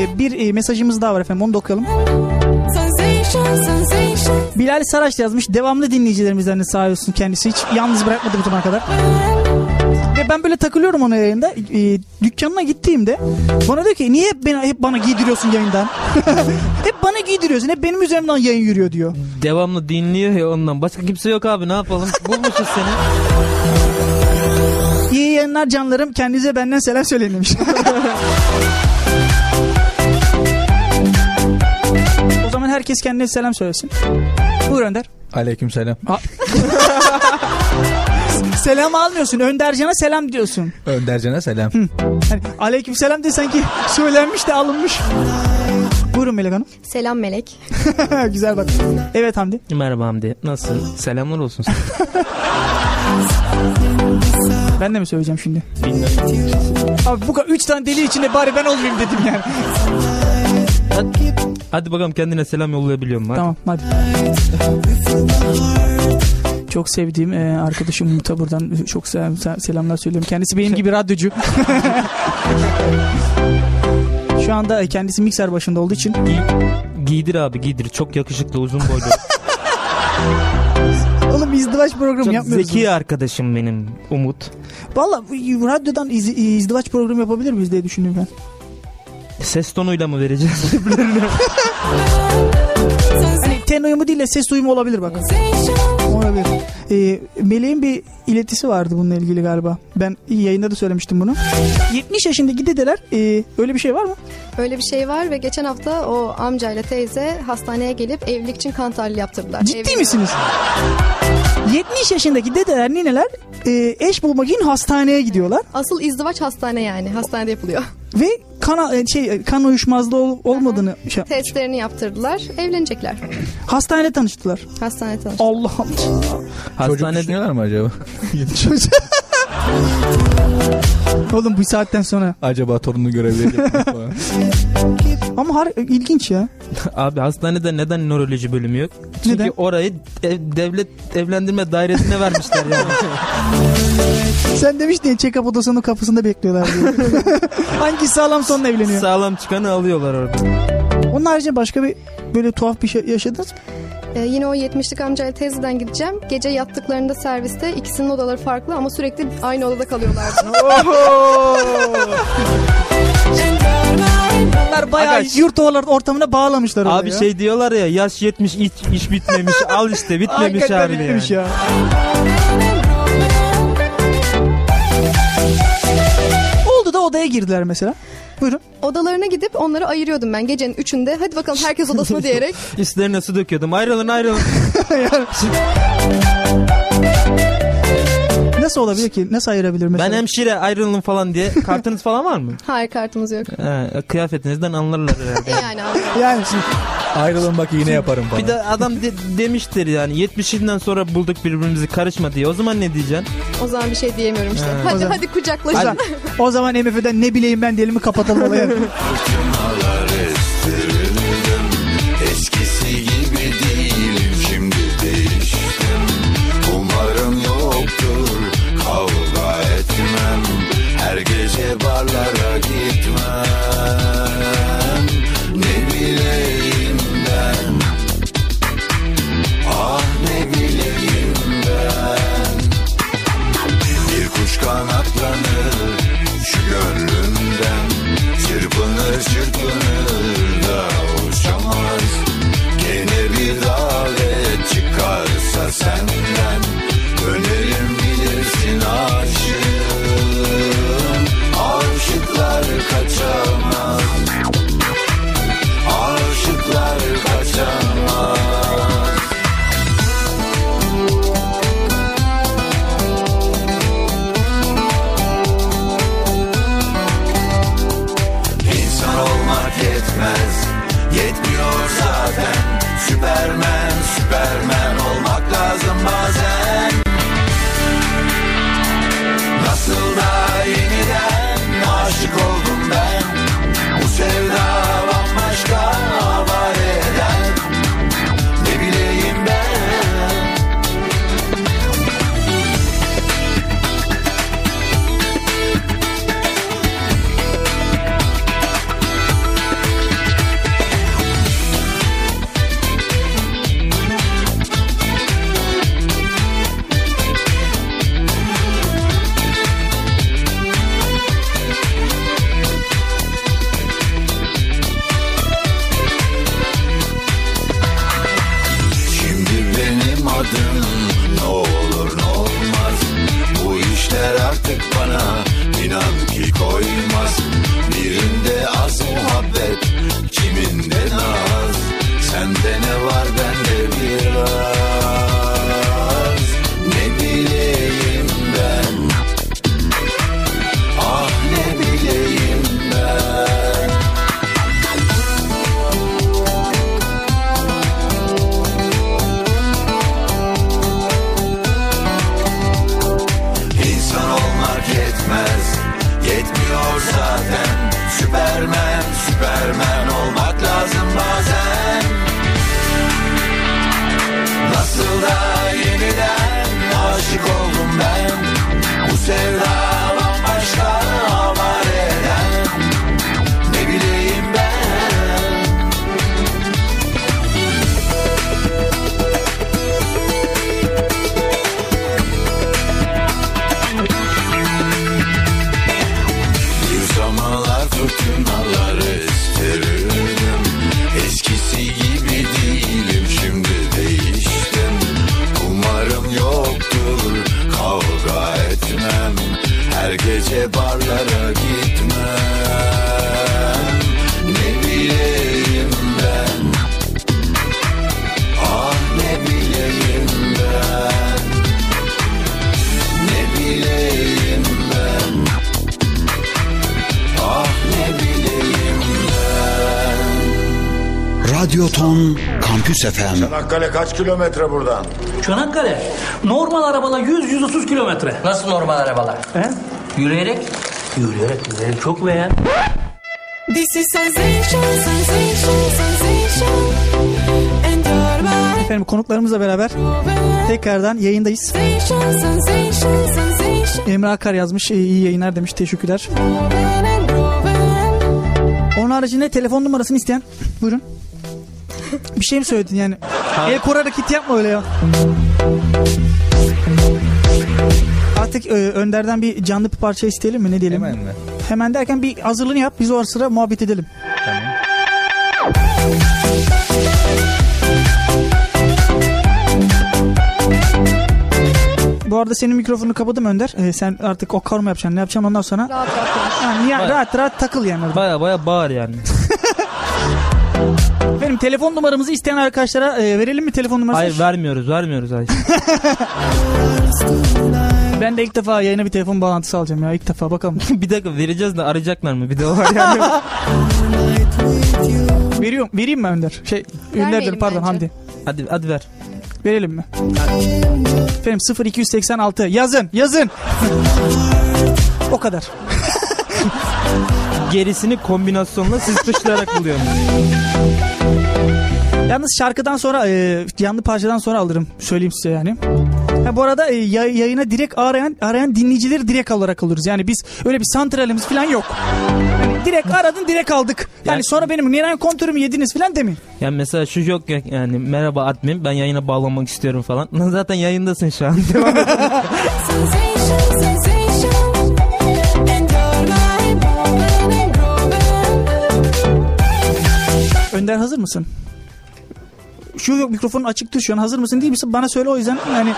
e, bir e, mesajımız daha var efendim onu da okuyalım. Bilal Saraç yazmış devamlı dinleyicilerimizden de sağ olsun kendisi hiç yalnız bırakmadı bu zamana kadar. Ve ben böyle takılıyorum ona yayında. E, dükkanına gittiğimde bana diyor ki niye hep, beni, hep bana giydiriyorsun yayından? hep bana giydiriyorsun hep benim üzerimden yayın yürüyor diyor.
Devamlı dinliyor ya ondan. Başka kimse yok abi ne yapalım. Bulmuşuz seni.
İyi yayınlar canlarım. Kendinize benden selam söyleyin demiş. o zaman herkes kendine selam söylesin. Buyur Önder.
Aleykümselam.
Selam almıyorsun. Öndercan'a selam diyorsun.
Öndercan'a selam.
Hani aleyküm selam de sanki söylenmiş de alınmış. Buyurun Melek Hanım.
Selam Melek.
Güzel bak. Evet Hamdi.
Merhaba Hamdi. Nasılsın? Selamlar olsun.
Ben de mi söyleyeceğim şimdi? Abi bu kadar 3 tane deli içinde bari ben olmayayım dedim yani.
Hadi bakalım kendine selam yollayabiliyorum. Hadi.
Tamam hadi. Çok sevdiğim e, arkadaşım Umut'a buradan e, çok se- se- selamlar söylüyorum. Kendisi benim gibi radyocu. Şu anda kendisi mikser başında olduğu için
Giydir abi giydir. Çok yakışıklı uzun boylu.
Oğlum izdivaç programı
Çok
yapmıyoruz.
zeki arkadaşım benim Umut.
Valla radyodan iz, izdivaç programı yapabilir miyiz diye düşündüm ben.
Ses tonuyla mı vereceğiz?
Hani ten uyumu değil de ses uyumu olabilir bak. Olabilir. Ee, Meleğin bir iletisi vardı bununla ilgili galiba. Ben yayında da söylemiştim bunu. 70 yaşındaki dedeler e, öyle bir şey var mı?
Öyle bir şey var ve geçen hafta o amcayla teyze hastaneye gelip evlilik için kan tahlili yaptırdılar.
Ciddi
Evli-
misiniz? 70 yaşındaki dedeler nineler e, eş bulmak için hastaneye gidiyorlar
Asıl izdivaç hastane yani. Hastanede yapılıyor.
ve kan e, şey kan uyuşmazlığı ol- olmadığını şey,
Testlerini yaptırdılar. Evlenecekler.
hastanede tanıştılar.
Hastaneye tanıştılar.
Allah Allah.
Çocuk
Hastanede
düşünüyorlar mı acaba?
Çocuk- Oğlum bu saatten sonra.
acaba torununu görebilecek mi falan.
Ama har- e, ilginç ya.
abi hastanede neden nöroloji bölümü yok? Çünkü
Neden?
orayı ev- devlet evlendirme dairesine vermişler yani.
Sen demiştin ya check-up odasının kapısında bekliyorlar diye. Hangi sağlam sonla evleniyor?
Sağlam çıkanı alıyorlar orada.
Onun haricinde başka bir böyle tuhaf bir şey yaşadınız mı?
Ee, yine o 70'lik amcayla teyzeden gideceğim. Gece yattıklarında serviste ikisinin odaları farklı ama sürekli aynı odada kalıyorlardı.
Oh. Bunlar bayağı
Arkadaş-
yurt ovalar ortamına bağlamışlar orayı
Abi
ya.
şey diyorlar ya yaş 70 iş, iş bitmemiş al işte bitmemiş
Hakikaten
abi yani.
bitmemiş ya. Oldu da odaya girdiler mesela. Buyurun.
Odalarına gidip onları ayırıyordum ben gecenin üçünde. Hadi bakalım herkes odasına diyerek.
Üstlerine su döküyordum ayrılın ayrılın.
Nasıl olabilir ki? Nasıl ayırabilir mesela?
ben hemşire ayrılın falan diye kartınız falan var mı?
Hayır kartımız yok.
He, kıyafetinizden anlarlar herhalde.
E yani abi.
yani
Ayrılın bak iğne yaparım falan.
Bir de adam de- demiştir yani 70'inden sonra bulduk birbirimizi karışma diye. O zaman ne diyeceksin?
O zaman bir şey diyemiyorum işte.
Ha.
Hadi
zaman-
hadi kucaklaşın.
Hadi. o zaman MF'den ne bileyim ben diyelim mi kapatalım olayı.
Eskisi gibi değilim şimdi değiştim Umarım yoktur kavga etmem Her gece barlara gitmem Ne bileyim ben Ah ne bileyim ben Bir kuş kanatlanır şu gönlümden Çırpınır çırpınır da uçamaz Gene bir davet çıkarsa senden Dönerim bilirsin aşığım Aşıklar kaçamaz Aşıklar kaçamaz İnsan olmak yetmez Yetmiyor zaten Süpermen, süpermen olmak lazım bazen Nasıl da yeniden aşık oldum ben Bu sevda bambaşka avare eden Ne bileyim ben Ah, Ah,
Radyo Ton Kampüs FM
Çanakkale kaç kilometre buradan?
Çanakkale normal arabalar 100-130 kilometre. Nasıl normal arabalar? He? Yürüyerek? Yürüyerek, yürüyerek çok be ya.
This is sensation, sensation, sensation. And your body.
Efendim konuklarımızla beraber tekrardan yayındayız.
Sensation, sensation, sensation.
Emre Akar yazmış. e, iyi yayınlar demiş. Teşekkürler.
Moving and grooving.
Onun haricinde telefon numarasını isteyen. Buyurun. Bir şey mi söyledin yani? El korarak hit yapma öyle ya. Artık e, Önder'den bir canlı bir parça isteyelim mi? Ne diyelim?
Hemen mi?
Hemen derken bir hazırlığını yap. Biz o ara sıra muhabbet edelim. Bu arada senin mikrofonunu kapadım Önder. Ee, sen artık okkar mı yapacaksın? Ne yapacaksın ondan sonra?
Rahat rahat konuş.
Yani ya,
Baya-
rahat rahat takıl yani orada.
Baya baya bağır yani.
Benim telefon numaramızı isteyen arkadaşlara e, verelim mi telefon numarası?
Hayır vermiyoruz vermiyoruz. Hayır.
Ben de ilk defa yayına bir telefon bağlantısı alacağım ya. ilk defa bakalım.
bir dakika vereceğiz de arayacaklar mı? Bir de o var yani.
Veriyorum. Vereyim mi Önder? Şey Önder'dir
Vermeyelim
pardon
bence.
Hamdi.
hadi, hadi ver.
Verelim mi? Efendim 0286 yazın yazın. o kadar.
Gerisini kombinasyonla siz dışlayarak buluyorsunuz.
Yalnız şarkıdan sonra e, canlı parçadan sonra alırım. Söyleyeyim size yani. Ha, bu arada e, yay- yayına direkt arayan arayan dinleyicileri direkt olarak alırız. Yani biz öyle bir santralimiz falan yok. Yani direkt aradın direkt aldık. Yani,
Yani-
sonra benim Niran kontörümü yediniz falan demeyin.
Yani mesela şu yok ya- yani merhaba admin ben yayına bağlanmak istiyorum falan. Lan Zaten yayındasın şu an.
Sensation, sensation. And your body. Moving and grooving.
Önder hazır mısın? Şu yok mikrofonun açıktır şu an. Hazır mısın değil misin? Bana söyle o yüzden yani.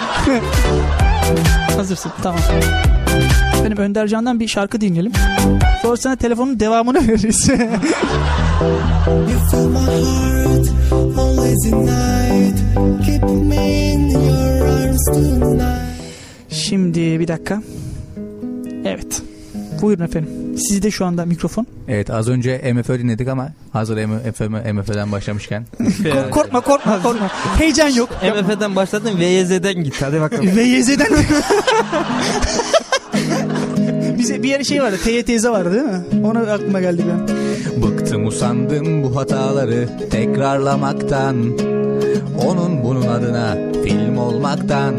Hazırsın tamam. Benim Önder Can'dan bir şarkı dinleyelim. Sonra sana telefonun devamını veririz.
You fill my heart always at night. Keep me in your arms tonight.
Şimdi bir dakika. Evet. Buyurun efendim. Sizde şu anda mikrofon.
Evet az önce MFÖ dinledik ama hazır MFÖ'den başlamışken.
Kork- korkma korkma korkma. Heyecan yok.
MF'den başladın VYZ'den git hadi bakalım.
VYZ'den Bize bir yere şey vardı. TYTZ vardı değil mi? Ona aklıma geldi bir an.
Bıktım usandım bu hataları tekrarlamaktan Onun bunun adına film olmaktan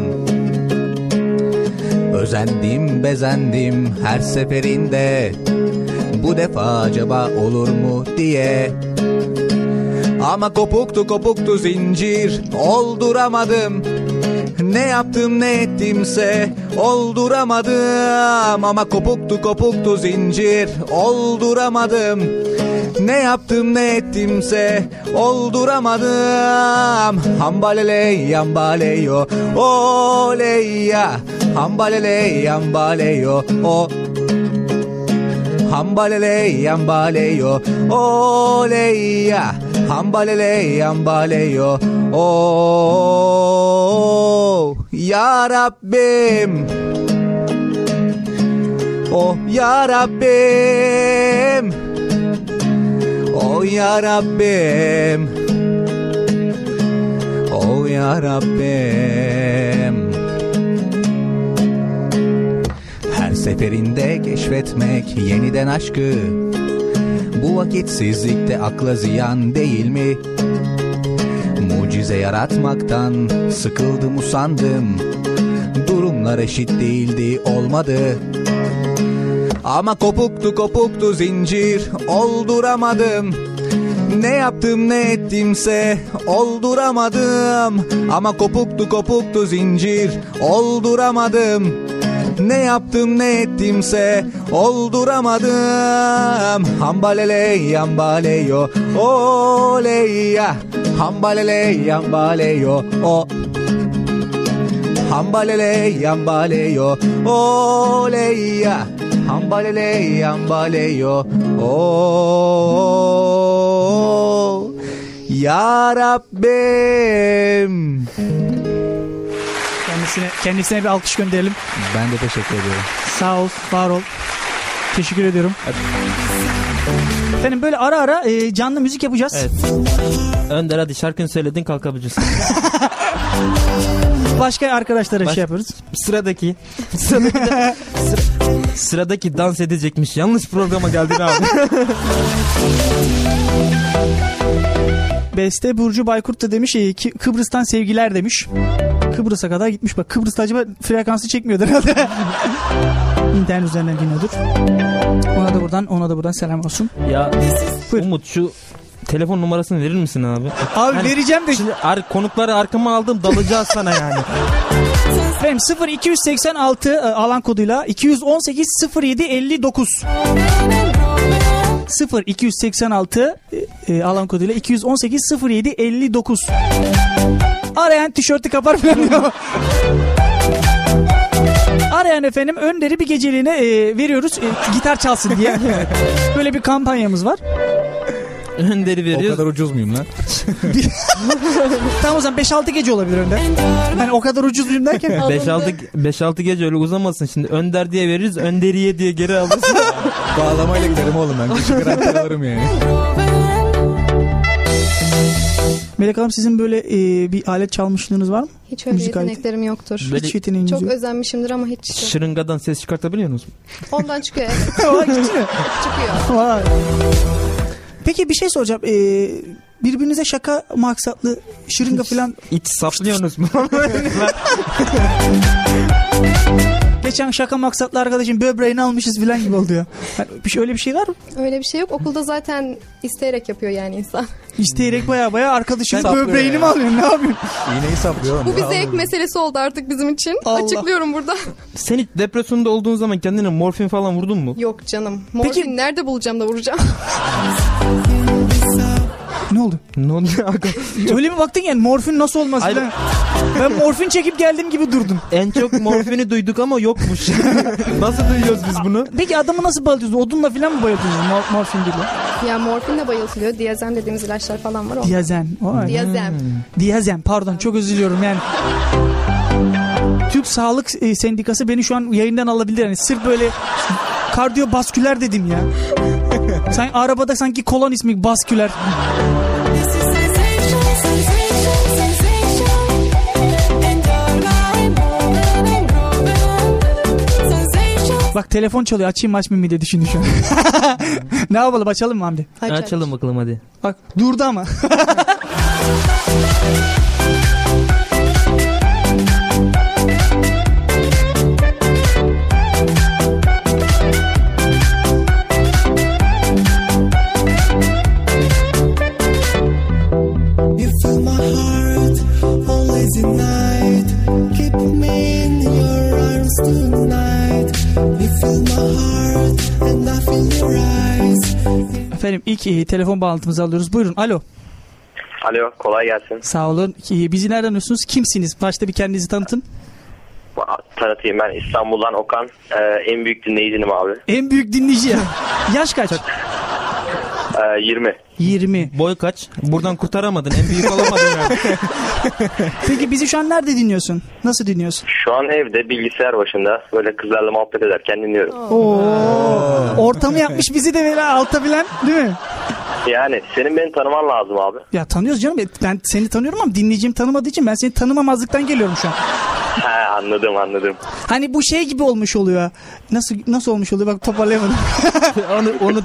Özendim bezendim her seferinde Bu defa acaba olur mu diye Ama kopuktu kopuktu zincir olduramadım ne yaptım ne ettimse olduramadım Ama kopuktu kopuktu zincir olduramadım Ne yaptım ne ettimse olduramadım Hambaleley yambaleyo oleyya Hambaleley yambaleyo o Hambaleley yambaleyo oleyya Hambaleley yambaleyo o Ya Rabbim Oh Ya Rabbim Oh Ya Rabbim Oh Ya Rabbim her seferinde keşfetmek yeniden aşkı Bu vakitsizlikte akla ziyan değil mi? Mucize yaratmaktan sıkıldım usandım Durumlar eşit değildi olmadı Ama kopuktu kopuktu zincir olduramadım ne yaptım ne ettimse olduramadım Ama kopuktu kopuktu zincir olduramadım Ne yaptım ne ettimse olduramadım Hambaleley yambaleyo oleyya Hambaleley yambaleyo o Hambaleley yambaleyo oleyya Hambaleley yambaleyo o Ya Rabbim
Kendisine, kendisine bir alkış gönderelim.
Ben de teşekkür ediyorum.
Sağ ol, var ol. Teşekkür ediyorum. Efendim böyle ara ara e, canlı müzik yapacağız.
Evet. Önder hadi şarkını söyledin kalkabilirsin.
Başka arkadaşlara
Baş-
şey yaparız.
Sıradaki. Sıradaki, de- sıra- sıradaki dans edecekmiş. Yanlış programa geldin abi.
Beste Burcu Baykurt da demiş e, ki Kıbrıs'tan sevgiler demiş. Kıbrıs'a kadar gitmiş. Bak Kıbrıs'ta acaba frekansı çekmiyordur herhalde. İnternet üzerinden dinliyordur. Ona da buradan ona da buradan selam olsun.
ya
Buyur.
Umut şu telefon numarasını verir misin abi?
Abi
Yani
vereceğim de
Şimdi ar- konukları arkama aldım dalacağız sana yani.
efendim 0 286 e, alan koduyla 218 07 59 0 286 e, e, alan koduyla 218 07 59 Arayan tişörtü kapar falan diyor. Arayan efendim Önder'i bir geceliğine e, veriyoruz e, gitar çalsın diye. Böyle bir kampanyamız var.
Önderi
O
veriyoruz.
kadar ucuz muyum lan?
Tam o zaman 5-6 gece olabilir Önder. Hani o kadar ucuz muyum derken.
5-6 5-6 gece öyle uzamasın şimdi. Önder diye veririz, önderiye diye geri alırsın.
Bağlamayla giderim oğlum ben. Küçük alırım yani.
Melek Hanım sizin böyle e, bir alet çalmışlığınız var mı?
Hiç öyle
Müzik aleti.
yeteneklerim yoktur.
Böyle-
Hiç yeteneğiniz
Çok
yok.
özenmişimdir ama hiç.
Şırıngadan ses çıkartabiliyor musun?
Ondan çıkıyor. evet,
Vay, gitti mi?
çıkıyor.
Vay. Peki bir şey soracağım. E, birbirinize şaka maksatlı şırınga falan
İç saplıyorsunuz mu?
geçen şaka maksatlı arkadaşın böbreğini almışız falan gibi oldu ya. Hani bir şey, öyle bir şey var mı?
Öyle bir şey yok. Okulda zaten isteyerek yapıyor yani insan.
İsteyerek baya baya arkadaşın
Saplıyor
böbreğini
ya.
mi alıyorsun ne yapıyorsun?
İğneyi saplıyor oğlum.
Bu bir zevk meselesi oldu artık bizim için.
Allah.
Açıklıyorum burada.
Sen hiç depresyonda olduğun zaman kendine morfin falan vurdun mu?
Yok canım. Morfin
Peki-
nerede bulacağım da vuracağım?
Ne oldu?
Ne oluyor? aga?
Öyle mi baktın yani morfin nasıl olmaz
Hayır.
falan. Ben morfin çekip geldiğim gibi durdum.
en çok morfini duyduk ama yokmuş. Nasıl duyuyoruz biz bunu?
Peki adamı nasıl bayıltıyorsunuz? Odunla falan mı bayıltıyorsunuz mor- morfin gibi?
ya morfinle bayıltılıyor. Diazem dediğimiz ilaçlar falan var. Diazem.
Diyazen. Vay.
Diazem.
Diyazen pardon çok özür diliyorum yani. Türk Sağlık e, Sendikası beni şu an yayından alabilir. Yani sırf böyle kardiyobasküler dedim ya. Sanki arabada sanki kolon ismi basküler. Bak telefon çalıyor açayım mı açmayayım mı diye düşündüm şu an. ne yapalım açalım mı Hamdi?
Aç, aç.
Açalım bakalım hadi.
Bak durdu ama.
You fill my heart on lazy night. Keep me in your arms tonight. You fill my heart and I feel your eyes.
Efendim ilk e, telefon bağlantımızı alıyoruz. Buyurun alo.
Alo kolay gelsin.
Sağ olun. E, bizi nereden arıyorsunuz? Kimsiniz? Başta bir kendinizi tanıtın.
Ba- Tanıtayım ben İstanbul'dan Okan. Ee, en büyük dinleyicinim abi.
En büyük dinleyici ya. Yaş kaç?
Ee, 20.
20.
Boy kaç? Buradan kurtaramadın. En büyük olamadın yani.
Peki bizi şu an nerede dinliyorsun? Nasıl dinliyorsun?
Şu an evde bilgisayar başında böyle kızlarla muhabbet ederken dinliyorum.
Oh. Ortamı yapmış bizi de böyle alta bilen değil mi?
Yani senin beni tanıman lazım abi.
Ya tanıyoruz canım. E, Ben seni tanıyorum ama dinleyicim tanımadığı için ben seni tanımamazlıktan geliyorum şu an.
He anladım anladım.
Hani bu şey gibi olmuş oluyor. Nasıl nasıl olmuş oluyor bak toparlayamadım.
onu, onu,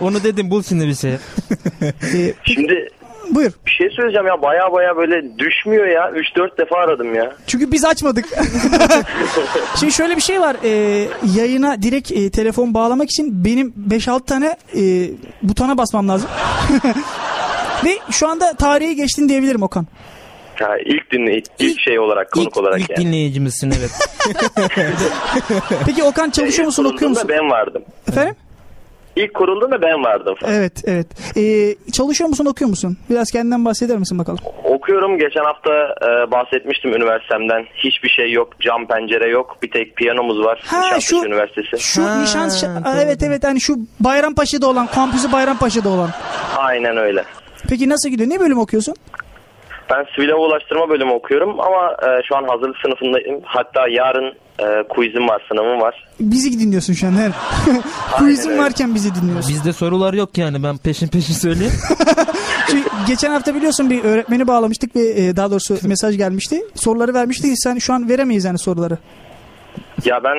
onu dedim bul şimdi bir şey.
Ee,
Şimdi
buyur.
bir şey söyleyeceğim ya baya baya böyle düşmüyor ya. 3-4 defa aradım ya.
Çünkü biz açmadık. Şimdi şöyle bir şey var. Ee, yayına direkt e, telefon bağlamak için benim 5-6 tane e, butona basmam lazım. Ve şu anda tarihe geçtin diyebilirim Okan.
Ha, ilk dinle ilk, ilk şey olarak konuk
İlk,
olarak
ilk
yani.
dinleyicimizsin evet.
Peki Okan çalışıyor musun okuyor
kurulduğunda
musun?
ben vardım.
Efendim?
İlk kurulduğunda ben vardım.
Evet, evet. Ee, çalışıyor musun, okuyor musun? Biraz kendinden bahseder misin bakalım?
Okuyorum. Geçen hafta e, bahsetmiştim üniversitemden. Hiçbir şey yok. Cam pencere yok. Bir tek piyanomuz var.
Ha,
Nişantaşı
şu-
Üniversitesi.
Şu
Ha,
nişan... şa-
doğru.
evet, evet. Hani şu Bayrampaşa'da olan, kampüsü Bayrampaşa'da olan.
Aynen öyle.
Peki nasıl gidiyor? Ne bölüm okuyorsun?
Ben sivil hava ulaştırma bölümü okuyorum ama e, şu an hazırlık sınıfındayım. Hatta yarın e, quizim var, sınavım var.
Bizi dinliyorsun şu an her. Quizim varken bizi dinliyorsun.
Bizde sorular yok yani ben peşin peşin söyleyeyim.
Çünkü geçen hafta biliyorsun bir öğretmeni bağlamıştık ve e, daha doğrusu mesaj gelmişti. Soruları vermiştik. Sen şu an veremeyiz yani soruları.
Ya ben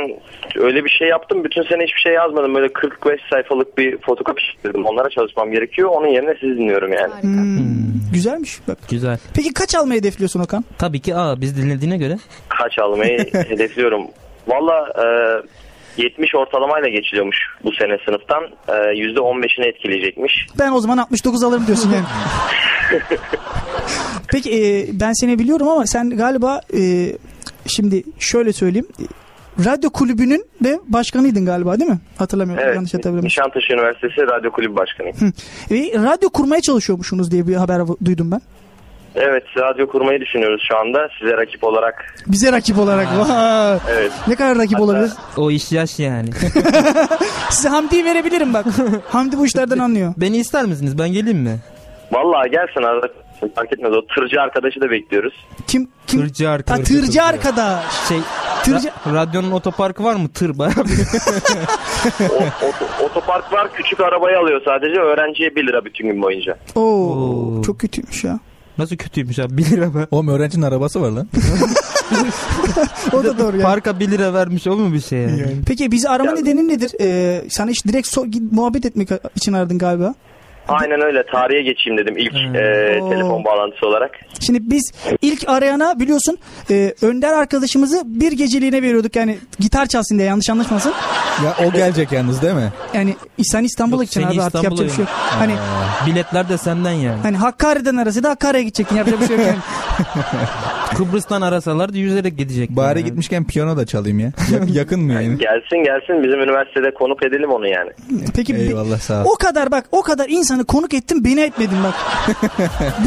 öyle bir şey yaptım. Bütün sene hiçbir şey yazmadım. Böyle 45 sayfalık bir fotokopi çizdim. Onlara çalışmam gerekiyor. Onun yerine sizi dinliyorum yani.
Hmm.
Güzelmiş bak.
Güzel.
Peki kaç almayı hedefliyorsun Okan?
Tabii ki A biz dinlediğine göre.
Kaç almayı hedefliyorum. Valla e, 70 ortalamayla geçiliyormuş bu sene sınıftan. E, %15'ini etkileyecekmiş.
Ben o zaman 69 alırım diyorsun yani. Peki e, ben seni biliyorum ama sen galiba e, şimdi şöyle söyleyeyim. E, Radyo kulübünün de başkanıydın galiba değil mi? Hatırlamıyorum yanlış
Evet.
hatırlamıyorum.
Nişantaşı Üniversitesi Radyo Kulübü Başkanıyım.
Hı. Ve radyo kurmaya çalışıyormuşsunuz diye bir haber duydum ben.
Evet radyo kurmayı düşünüyoruz şu anda. Size rakip olarak.
Bize rakip olarak. Vay.
Evet.
Ne kadar rakip olabilir?
O iş yaş yani.
Size Hamdi'yi verebilirim bak. Hamdi bu işlerden anlıyor.
Beni ister misiniz? Ben geleyim mi?
Vallahi gelsin arada fark etmez. O tırcı arkadaşı da bekliyoruz.
Kim? kim?
Tırcı
Ha,
arkadaş.
tırcı arkadaş.
Şey,
Tırcı-
ra- radyonun otoparkı var mı? Tır bayağı bir-
O- oto- otopark var küçük arabayı alıyor sadece. Öğrenciye 1 lira bütün gün boyunca.
Oo,
Oo.
çok kötüymüş ya.
Nasıl kötüymüş abi 1 lira be.
Oğlum öğrencinin arabası var lan.
O da doğru yani.
Parka 1 lira vermiş o mu bir şey yani?
Peki bizi arama nedenin nedir? Ee, sen hiç direkt so- gid- muhabbet etmek için aradın galiba.
Aynen öyle tarihe geçeyim dedim ilk e,
Oo.
telefon bağlantısı olarak.
Şimdi biz ilk arayana biliyorsun e, Önder arkadaşımızı bir geceliğine veriyorduk. Yani gitar çalsın diye yanlış anlaşmasın.
ya o gelecek yalnız değil mi?
Yani sen İstanbul'a
Yok,
gideceksin
seni
abi artık yapacak bir şey yok.
İstanbul'a
Hani
Biletler de senden yani.
hani Hakkari'den arası da Hakkari'ye gidecektin yapacak bir şey yok yani.
Kıbrıs'tan arasalar da yüzerek gidecek.
Bari
yani.
gitmişken piyano da çalayım ya. Ya- yakın mı yani?
Gelsin gelsin bizim üniversitede konuk edelim onu yani.
Peki bir-
Eyvallah sağ ol.
o kadar bak o kadar insanı konuk ettim beni etmedin bak.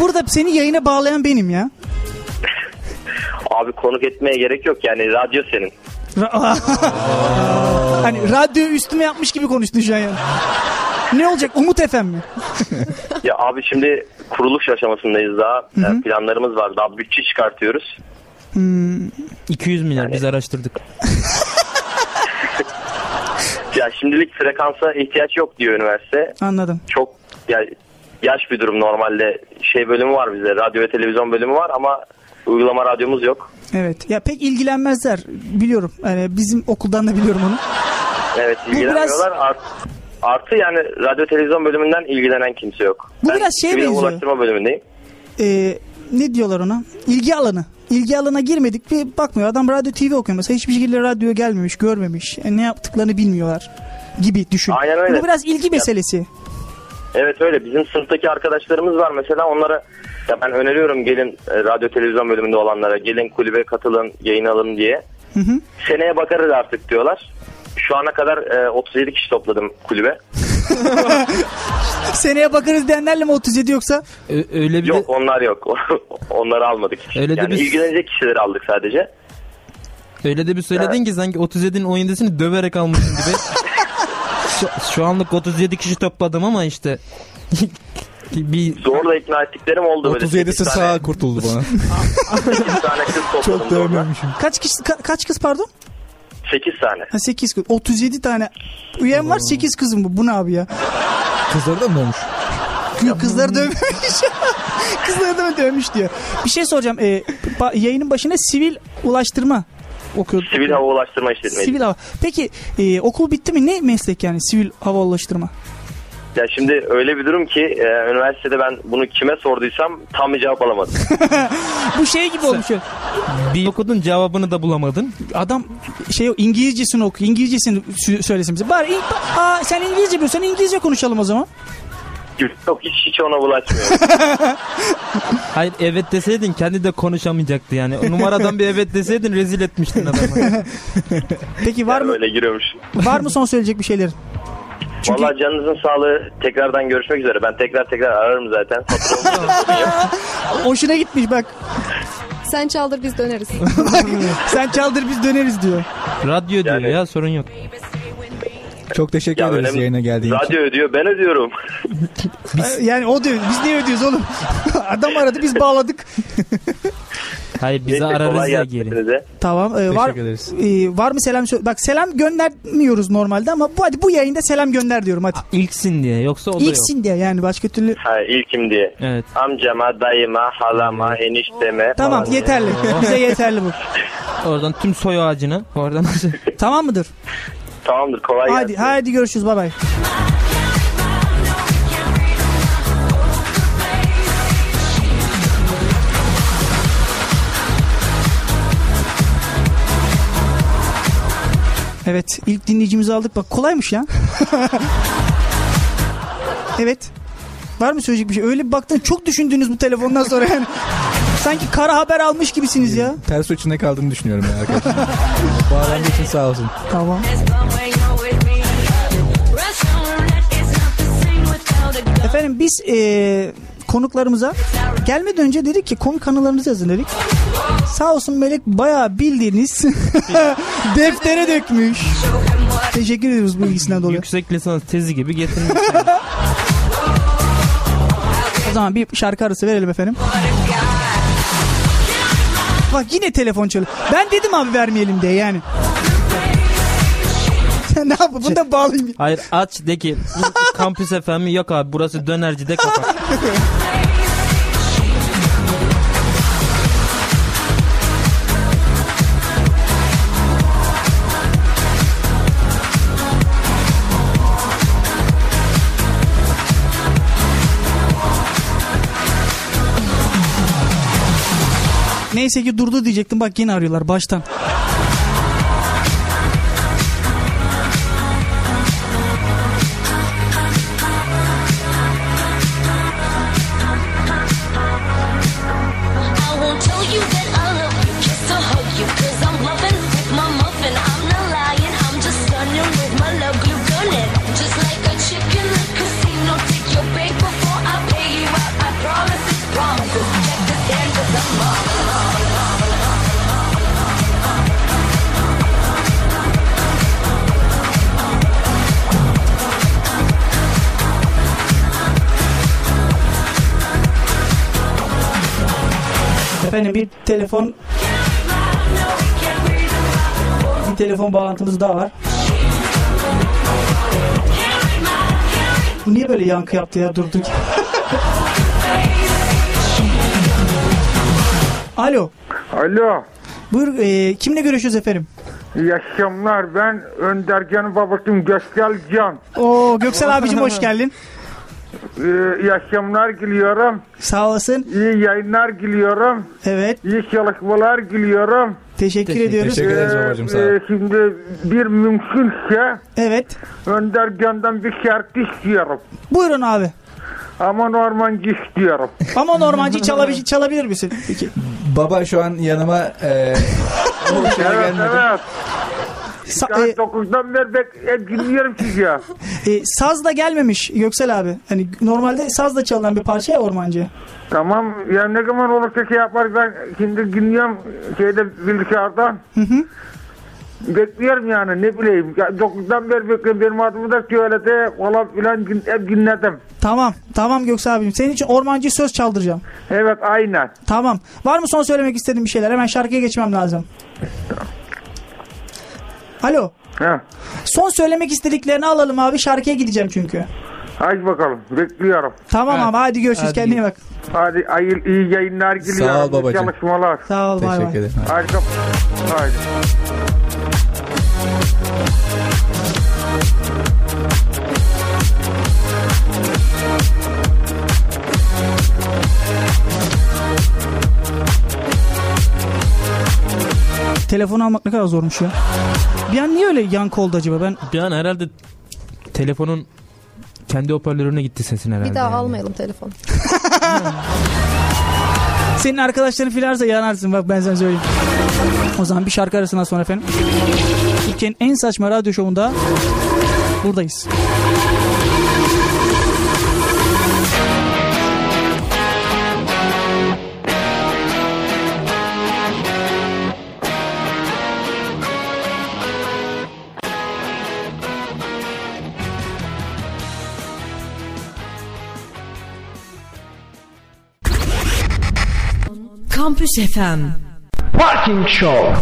Burada seni yayına bağlayan benim ya.
Abi konuk etmeye gerek yok yani radyo senin.
Ra- hani radyo üstüme yapmış gibi konuştun şu an yani. Ne olacak Umut Efem mi?
Ya abi şimdi kuruluş aşamasındayız daha. E, planlarımız var daha bütçe çıkartıyoruz.
200 milyar biz araştırdık.
Ya şimdilik frekansa ihtiyaç yok diyor üniversite.
Anladım.
Çok ya, yaş bir durum normalde şey bölümü var bize radyo ve televizyon bölümü var ama uygulama radyomuz yok.
Evet. Ya pek ilgilenmezler biliyorum. Yani bizim okuldan da biliyorum onu.
Evet
biraz-
ilgilenmiyorlar. Art- artı yani radyo televizyon bölümünden ilgilenen kimse yok.
Bu biraz şeye
sivil
benziyor.
ulaştırma bölümündeyim.
Ee, ne diyorlar ona? İlgi alanı. İlgi alanına girmedik bir bakmıyor. Adam radyo TV okuyor mesela. Hiçbir şekilde radyoya gelmemiş, görmemiş. E, ne yaptıklarını bilmiyorlar gibi düşün.
Aynen öyle.
Bu biraz ilgi meselesi.
Evet öyle bizim sınıftaki arkadaşlarımız var mesela onlara ya ben öneriyorum gelin e, radyo televizyon bölümünde olanlara gelin kulübe katılın yayın alın diye.
hı.
Seneye bakarız artık diyorlar. Şu ana kadar e, 37 kişi topladım kulübe.
Seneye bakarız diyenlerle mi 37 yoksa?
Ö- öyle bir
Yok
de
onlar yok. Onları almadık. hiç.
Öyle de
yani
biz-
ilgilenecek kişileri aldık sadece.
öyle de bir söyledin ki sanki 37'nin 17'sini döverek almışsın gibi. şu, şu anlık 37 kişi topladım ama işte bir
Zorla ikna ettiklerim oldu böyle.
37'si
Sekiz
sağa kurtuldu bana.
Tane, 8 tane kız topladım
Çok
zorla.
dövmemişim.
Kaç kişi ka- kaç kız pardon?
8 tane.
Ha 8 kız. 37 tane üyem var 8 kızım bu. Bu ne abi ya?
Kızları da mı olmuş?
Kı- Kızları dövmemiş. Kızları da dövmüş diyor. Bir şey soracağım. Ee, ba- yayının başına sivil ulaştırma okuyordu.
Sivil hava ulaştırma işletmeci.
Sivil hava. Peki e, okul bitti mi? Ne meslek yani sivil hava ulaştırma?
Ya şimdi öyle bir durum ki e, üniversitede ben bunu kime sorduysam tam bir cevap alamadım.
Bu şey gibi olmuş. ya.
bir okudun cevabını da bulamadın.
Adam şey İngilizcesini oku. İngilizcesini sü- söylesin bize. Bari İng- Aa, sen İngilizce biliyorsan İngilizce konuşalım o zaman.
Yok hiç hiç ona bulaşmıyor.
Hayır evet deseydin kendi de konuşamayacaktı yani. O numaradan bir evet deseydin rezil etmiştin adamı.
Peki var
Yani
mı
Öyle giriyormuş.
var mı son söyleyecek bir şeylerin? Çünkü-
Vallahi canınızın sağlığı tekrardan görüşmek üzere. Ben tekrar tekrar ararım zaten. Fatura olursa sorun yok.
Hoşuna gitmiş bak.
Sen çaldır biz döneriz.
Sen çaldır biz döneriz diyor.
Radyo diyor
Yani-
ya sorun yok.
Çok teşekkür
Ya
ederiz
önemli-
yayına geldiğin için.
Radyo ödüyor ben ödüyorum.
Yani o diyor. Biz niye ödüyoruz oğlum? Adam aradı biz bağladık.
Hayır bize
Neyse,
ararız
kolay
ya
gelsin
geri.
hepinize.
Tamam. e, var,
Teşekkür ederiz.
e, var mı selam? sö- Bak selam göndermiyoruz normalde ama bu hadi bu yayında selam gönder diyorum hadi.
İlksin diye yoksa o da yok.
İlksin diye yani başka türlü.
Ha, ilkim diye.
Evet.
Amcama, dayıma, halama, enişteme.
Tamam
falan.
yeterli. Bize yeterli bu.
Oradan tüm soy ağacını oradan
Tamam mıdır?
Tamamdır kolay
Hadi
gelsin.
hadi görüşürüz bay bay. Evet ilk dinleyicimizi aldık bak kolaymış ya. evet. Var mı söyleyecek bir şey? Öyle bir baktın çok düşündünüz bu telefondan sonra yani. Sanki kara haber almış gibisiniz ya.
Ters uçunda kaldığını düşünüyorum ya arkadaşlar. Bağlandığı için sağ olsun.
Tamam. Efendim biz eee, konuklarımıza gelmeden önce dedik ki konuk anılarınızı yazın dedik. Sağ olsun Melek bayağı bildiğiniz deftere dökmüş. Teşekkür ediyoruz bu bilgisinden dolayı.
yüksek lisans tezi gibi getirmiş.
O zaman bir şarkı arası verelim efendim. Bak yine telefon çalıyor. Ben dedim abi vermeyelim diye yani. Sen ne yapın? Bunu da bağlayayım.
Hayır aç de ki bu kampüs efemi yok abi burası dönerci de kapat.
Neyse ki durdu diyecektim. Bak yine arıyorlar baştan.
I won't tell you that I love you, kiss or hug you, cause I'm loving with my muffin. I'm not lying, I'm just stunning with my love glue gunning. Just like a chicken in a casino, take your bait before I pay you out. I promise it's promises. Check this hand, cause I'm
Efendim bir telefon bir telefon bağlantımız daha var. Bu niye böyle yankı yaptı ya durduk? Alo.
Alo.
Buyur e, kimle görüşüyoruz efendim?
İyi akşamlar. Ben Öndergen'in babasıyım Göksel Can.
Oo Göksel abicim hoş geldin.
Ee, iyi akşamlar diliyorum.
Sağ olasın.
İyi yayınlar diliyorum.
Evet.
İyi çalışmalar diliyorum. E,
Teşekkür Teşekkür- ediyoruz. teşekkür ederiz babacığım, sağ ol.
şimdi bir mümkünse
Evet.
Öndergen'den bir şarkı istiyorum.
Buyurun abi.
Aman ormancı istiyorum.
Ama Normancı çalabilir, çalabilir misin? Peki.
Baba şu an yanıma e, o şey
evet
gelmedi.
evet. Saat 9'dan beri bek- dinliyorum sizi ya.
E, sazla gelmemiş Göksel abi. Hani normalde sazla çalınan bir parça ya Ormancı.
Tamam ya ne zaman olursa şey yapar ben şimdi dinliyorum şeyde bilgisayardan.
Hı hı.
Bekliyorum yani ne bileyim. Ya, 9'dan beri bekliyorum benim adımı da söyledi falan filan din- hep dinledim.
Tamam. Tamam Göksel abim. Senin için Ormancı söz çaldıracağım.
Evet aynen.
Tamam. Var mı son söylemek istediğin bir şeyler? Hemen şarkıya geçmem lazım. Alo.
Heh.
Son söylemek istediklerini alalım abi. Şarkıya gideceğim çünkü.
Hadi bakalım bekliyorum.
Tamam abi hadi görüşürüz.
Hadi.
Kendine iyi bak.
Hadi ay- iyi yayınlar diliyorum.
Sağ ol babacığım.
iyi Çalışmalar.
Sağ ol bay bay.
Teşekkür ederim.
Hadi. kap- Hadi.
Telefonu almak ne kadar zormuş ya. Bir an niye öyle yankı oldu acaba? Ben
Bir an herhalde telefonun kendi hoparlörüne gitti sesin herhalde.
Bir daha almayalım telefon.
Senin arkadaşların filarsa yanarsın bak ben sana söyleyeyim. O zaman bir şarkı arasından sonra efendim. Türkiye'nin en saçma radyo şovunda buradayız.
Kampüs FM
Parking Show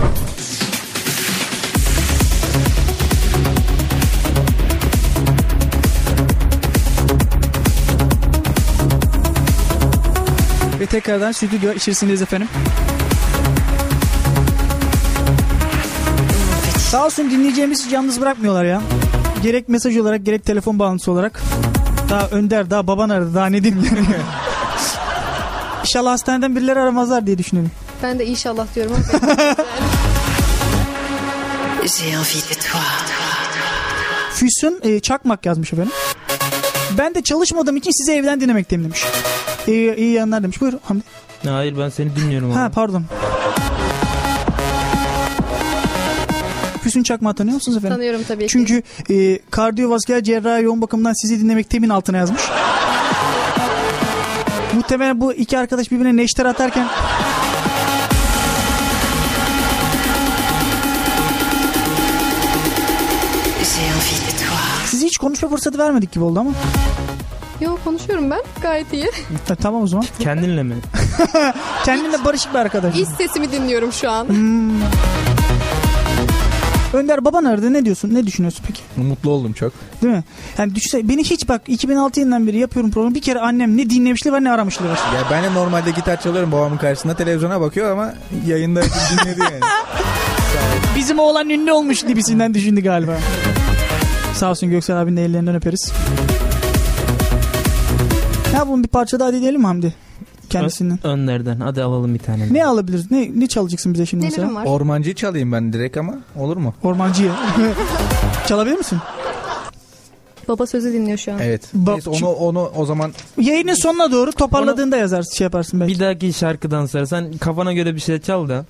Ve tekrardan stüdyo içerisindeyiz efendim. Sağ olsun dinleyeceğimiz hiç yalnız bırakmıyorlar ya. Gerek mesaj olarak gerek telefon bağlantısı olarak. Daha Önder, daha baban aradı, daha ne diyeyim yani. İnşallah hastaneden birileri aramazlar diye düşünüyorum.
Ben de inşallah diyorum. ama-
J'ai envie de toi
Füsun e, Çakmak yazmış efendim. Ben de çalışmadığım için sizi evden dinlemekteyim demiş. E, iyi yayınlar demiş. Buyur Hamdi.
Hayır ben seni dinliyorum.
Ha
abi.
pardon. Füsun Çakmak'ı tanıyor musunuz efendim?
Tanıyorum tabii ki.
Çünkü e, kardiyovasküler cerrahi yoğun bakımdan sizi dinlemekteyimin altına yazmış. Muhtemelen bu iki arkadaş birbirine neşter atarken
J'ai envie de toi
size hiç konuşma fırsatı vermedik gibi oldu ama.
Yo konuşuyorum ben gayet iyi.
Ha, tamam o zaman.
Kendinle mi?
Kendinle barışık bir arkadaş.
İç sesimi dinliyorum şu an.
Önder baban aradı ne diyorsun? Ne düşünüyorsun peki?
Mutlu oldum çok.
Değil mi? Yani düşünsene beni hiç bak 2006 yılından beri yapıyorum programı. Bir kere annem ne dinlemişti ve ne aramıştı.
Ya ben de normalde gitar çalıyorum babamın karşısında televizyona bakıyor ama yayında dinledi yani.
Bizim oğlan ünlü olmuş gibisinden düşündü galiba. Sağ olsun Göksel abinin de ellerinden öperiz. Ya bunun bir parça daha dinleyelim mi Hamdi? Kendisinden.
Ö- Önlerden. Hadi alalım bir tane.
Ne alabiliriz? Ne, ne çalacaksın bize şimdi mesela?
Ormancıyı çalayım ben direkt ama olur mu?
Ormancıyı. Çalabilir misin?
Baba sözü dinliyor şu an.
Evet. Neyse onu onu o zaman
Yayının sonuna doğru toparladığında yazarsın şey yaparsın belki.
Bir dahaki şarkıdan sonra sen kafana göre bir şey çal da.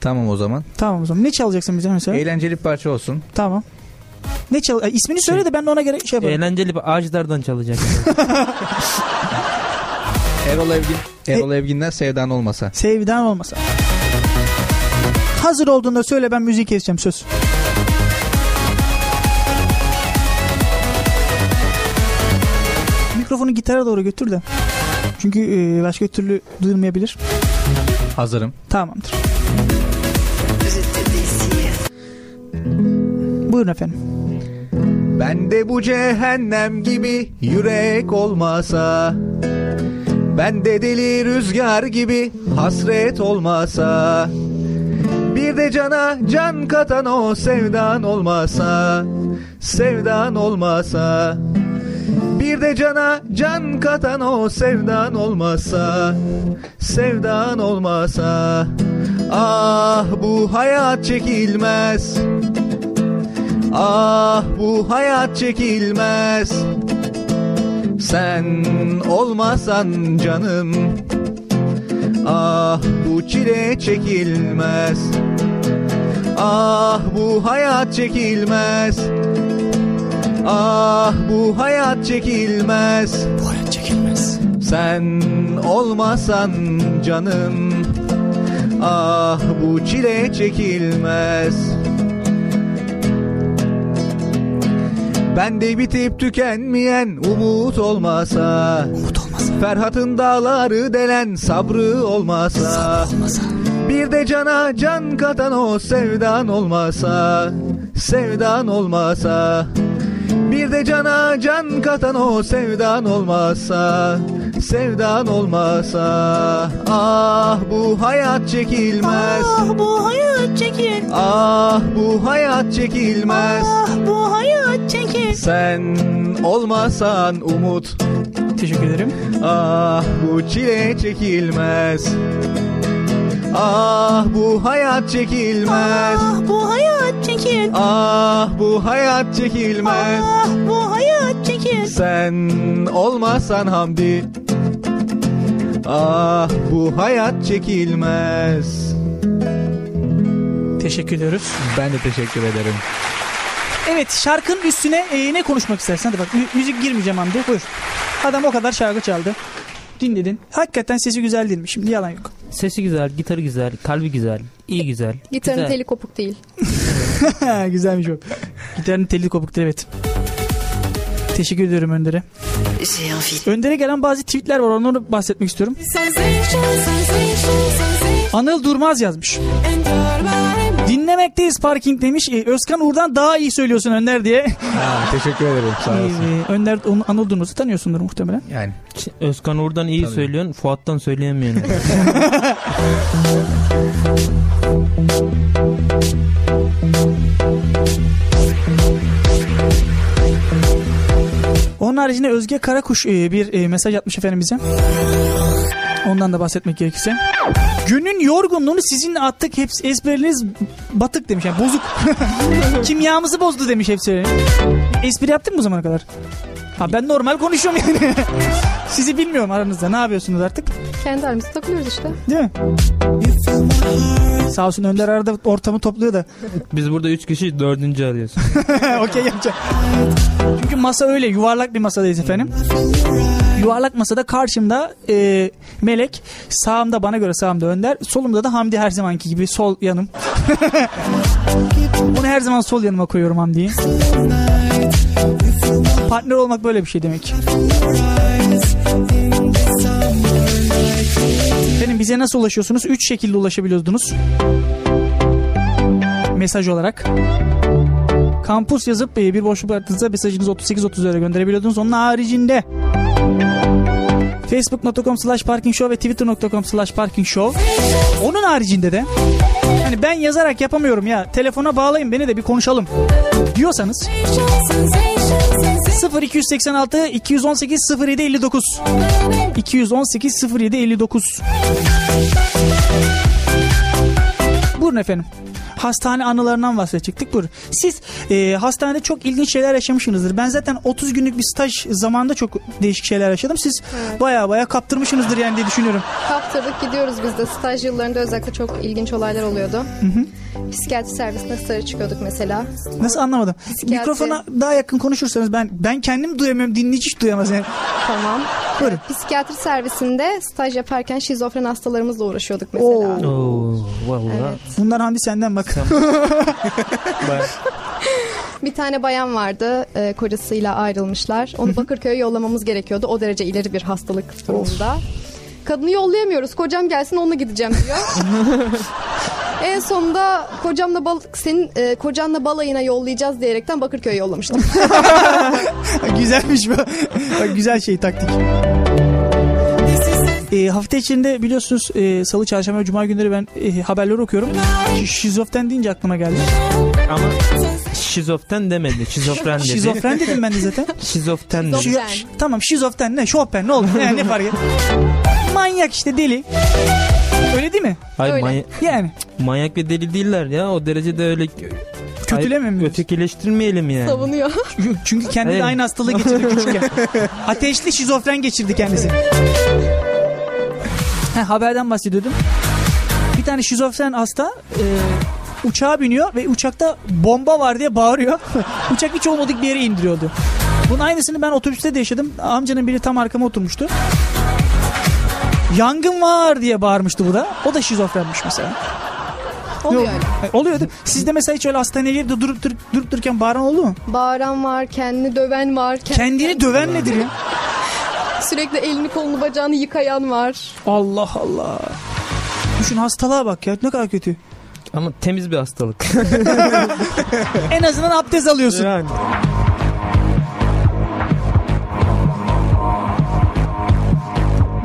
Tamam o zaman.
Tamam o zaman. Ne çalacaksın bize mesela?
Eğlenceli bir parça olsun.
Tamam. Ne çal? E, ismini söyle de ben de ona göre şey yaparım.
Eğlenceli bir ağaçlardan çalacak.
Erol Evgin.
E-
Erol Evgin'den sevdan olmasa.
Sevdan olmasa. Hazır olduğunda söyle ben müziği keseceğim söz. Mikrofonu gitara doğru götür de. Çünkü e, başka türlü duyulmayabilir.
Hazırım.
Tamamdır. Buyurun efendim.
Ben de bu cehennem gibi yürek olmasa Ben de deli rüzgar gibi hasret olmasa Bir de cana can katan o sevdan olmasa Sevdan olmasa Bir de cana can katan o sevdan olmasa Sevdan olmasa Ah bu hayat çekilmez Ah bu hayat çekilmez Sen olmasan canım Ah bu çile çekilmez Ah bu hayat çekilmez Ah bu hayat çekilmez Bu hayat çekilmez Sen olmasan canım Ah bu çile çekilmez Ben de bitip tükenmeyen umut olmasa Umut olmasa Ferhat'ın dağları delen sabrı olmasa Bir de cana can katan o sevdan olmasa Sevdan olmasa Bir de cana can katan o sevdan olmasa Sevdan olmasa Ah bu hayat çekilmez Ah
bu hayat çekil
Ah bu hayat çekilmez
Ah, bu hayat çekil
Sen olmasan umut
Teşekkür ederim
Ah bu çile çekilmez Ah bu hayat çekilmez Ah
bu hayat çekil
Ah bu hayat çekilmez
Ah bu hayat çekil
Sen olmasan Hamdi Ah bu hayat çekilmez
Teşekkür ediyoruz.
Ben de teşekkür ederim.
Evet şarkının üstüne e, ne konuşmak istersin? Hadi bak mü- müzik girmeyeceğim Hamdi buyur. Adam o kadar şarkı çaldı. Dinledin. Hakikaten sesi güzel değilmiş. Şimdi yalan yok.
Sesi güzel, gitarı güzel, kalbi güzel, iyi güzel.
Gitarın
güzel.
teli kopuk değil.
Güzelmiş o. Gitarın telli kopuktu evet. Teşekkür ediyorum Önder'e. Önder'e gelen bazı tweetler var onları bahsetmek istiyorum.
Sensation, sensation, sensation.
Anıl Durmaz yazmış. Dinlemekteyiz parking demiş. Ee, Özkan Uğur'dan daha iyi söylüyorsun Önder diye.
Ha, teşekkür ederim sağ olasın.
Ee, Önder onu, Anıl Durmaz'ı tanıyorsundur muhtemelen.
Yani.
Özkan oradan iyi söylüyorsun. Fuat'tan söyleyemiyorsun.
Onun haricinde Özge Karakuş e, bir e, mesaj atmış efendim bize. Ondan da bahsetmek gerekirse. Günün yorgunluğunu sizinle attık. Hepsi esprileriniz batık demiş. Yani bozuk. Kimyamızı bozdu demiş hepsi. Espri yaptın mı bu zamana kadar? Ha ben normal konuşuyorum yani. Sizi bilmiyorum aranızda. Ne yapıyorsunuz artık?
Kendi aramızda takılıyoruz işte.
Değil mi? Sağ olsun Önder arada ortamı topluyor da.
Biz burada 3 kişi dördüncü arıyoruz.
Okey yapacağım. Çünkü masa öyle yuvarlak bir masadayız efendim. Yuvarlak masada karşımda e, Melek, sağımda bana göre sağımda Önder, solumda da Hamdi her zamanki gibi sol yanım. Bunu her zaman sol yanıma koyuyorum Hamdi'yi. Partner olmak böyle bir şey demek. Efendim bize nasıl ulaşıyorsunuz? Üç şekilde ulaşabiliyordunuz. Mesaj olarak. Kampus yazıp e, bir boşluk bıraktığınızda mesajınızı 38.30'lara gönderebiliyordunuz. Onun haricinde facebook.com slash parking show ve twitter.com slash parking show. Onun haricinde de hani ben yazarak yapamıyorum ya telefona bağlayın beni de bir konuşalım diyorsanız 0286 218 07 59 218 07 59 Buyurun efendim. Hastane anılarından bahsedecektik. Buyurun. Siz e, hastanede çok ilginç şeyler yaşamışsınızdır. Ben zaten 30 günlük bir staj zamanında çok değişik şeyler yaşadım. Siz baya baya kaptırmışsınızdır yani diye düşünüyorum.
Kaptırdık gidiyoruz biz de. Staj yıllarında özellikle çok ilginç olaylar oluyordu.
Hı hı.
Psikiyatri servisine sarı çıkıyorduk mesela.
Nasıl anlamadım?
Psikiyatri.
Mikrofona daha yakın konuşursanız ben ben kendim duyamıyorum. Dinleyici hiç duyamaz yani.
Tamam. Ee,
Buyurun.
Psikiyatri servisinde staj yaparken şizofren hastalarımızla uğraşıyorduk mesela.
Oo, vallahi.
Bunlar Hamdi senden bak.
Baya-
Bir tane bayan vardı. e, kocasıyla ayrılmışlar. Onu Bakırköy'e yollamamız gerekiyordu. O derece ileri bir hastalık durumunda. Kadını yollayamıyoruz. Kocam gelsin onunla gideceğim diyor. en sonunda kocamla bal senin e, kocanla balayına yollayacağız diyerekten Bakırköy'e yollamıştım.
Güzelmiş bu. Bak, güzel şey taktik. E, hafta içinde biliyorsunuz e, salı, çarşamba ve cuma günleri ben e, haberleri okuyorum. Ş- Şizofren deyince aklıma geldi.
Ama şizofren demedi. Şizofren dedi.
Şizofren dedim ben de zaten.
Şizofren dedi.
Şi- ş- tamam şizofren ne? Chopin ne oldu? Ne, ne fark et? Manyak işte deli. Öyle değil mi?
Hayır, manya-
Yani.
manyak ve deli değiller ya. O derecede öyle... Kötüleme Ötekileştirmeyelim yani.
Savunuyor.
Çünkü kendi de
Evet.
aynı hastalığı geçirdi küçükken. Ateşli şizofren geçirdi kendisi. Ha, haberden bahsediyordum. Bir tane şizofren hasta e, uçağa biniyor ve uçakta bomba var diye bağırıyor. Uçak hiç olmadık bir yere indiriyordu. Bunun aynısını ben otobüste de yaşadım. Amcanın biri tam arkama oturmuştu. Yangın var diye bağırmıştı bu da. O da şizofrenmiş mesela.
Oluyor
Yok.
öyle.
E, Oluyor değil mi? Sizde mesela hiç öyle hastaneye girip de durup, durup, durup dururken bağıran oldu mu?
Bağıran var, kendini döven var. kend-
Kendini döven nedir ya?
Sürekli elini kolunu bacağını yıkayan var.
Allah Allah. Düşün hastalığa bak ya ne kadar kötü.
Ama temiz bir hastalık.
en azından abdest alıyorsun.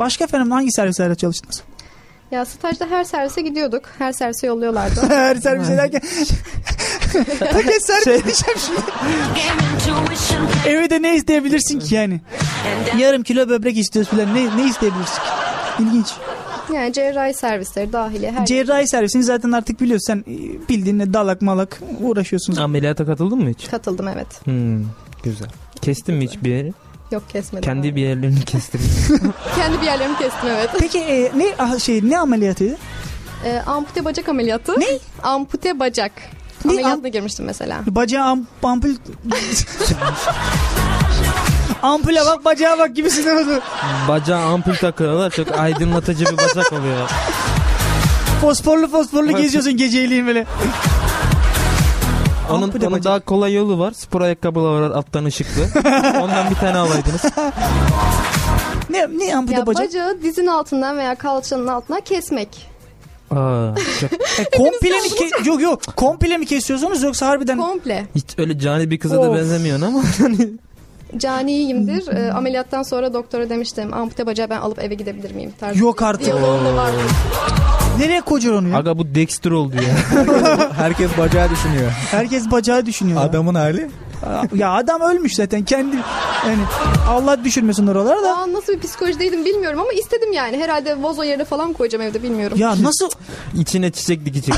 Başka efendim hangi servislerde çalıştınız?
Ya stajda her servise gidiyorduk. Her servise yolluyorlardı.
Her servise derken... Paket servis diyeceğim şimdi. Evde ne isteyebilirsin ki yani? Yarım kilo böbrek istiyoruz falan. Ne, ne isteyebilirsin ki? İlginç.
Yani cerrahi servisleri dahili her
Cerrahi servisini zaten artık biliyorsun. Sen e, bildiğinle dalak malak uğraşıyorsun.
Ameliyata katıldın mı hiç?
katıldım evet.
Hmm, güzel. Kestin mi hiç bir yeri?
Yok kesmedim.
Kendi bir yerlerini kestin.
Kendi bir yerlerimi kestim evet.
Peki e, ne ah, şey ne ameliyatıydı?
Ee, ampute bacak ameliyatı. Ne? Ampute bacak. Ameliyatına girmiştim mesela.
Bacağı am, ampul... Ampule bak bacağa bak gibisin. oldu.
Bacağı ampul takıyorlar. Çok aydınlatıcı bir bacak oluyor.
Fosforlu fosforlu geziyorsun geceliğin böyle.
Onun,
Ampule
onun daha kolay yolu var. Spor ayakkabılar var alttan ışıklı. Ondan bir tane alaydınız.
Ne, ne ampute
ya
bacak?
Bacağı dizin altından veya kalçanın altına kesmek.
Aa, çok...
E, komple mi ke- yok yok komple mi kesiyorsunuz yoksa harbiden
komple
Hiç öyle cani bir kıza da
Of.
benzemiyorsun ama.
caniyimdir. E, ameliyattan sonra doktora demiştim ampute bacağı ben alıp eve gidebilir miyim tarzı.
Yok artık.
Diyaloğum da vardı.
Nereye kocar onu ya?
Aga bu Dexter oldu ya.
Herkes bacağı düşünüyor.
Herkes bacağı düşünüyor.
Adamın hali.
ya adam ölmüş zaten kendi yani Allah düşürmesin oralara da.
Aa, nasıl bir psikolojideydim bilmiyorum ama istedim yani. Herhalde vazo yerine falan koyacağım evde bilmiyorum.
Ya nasıl
İçine çiçek dikecek.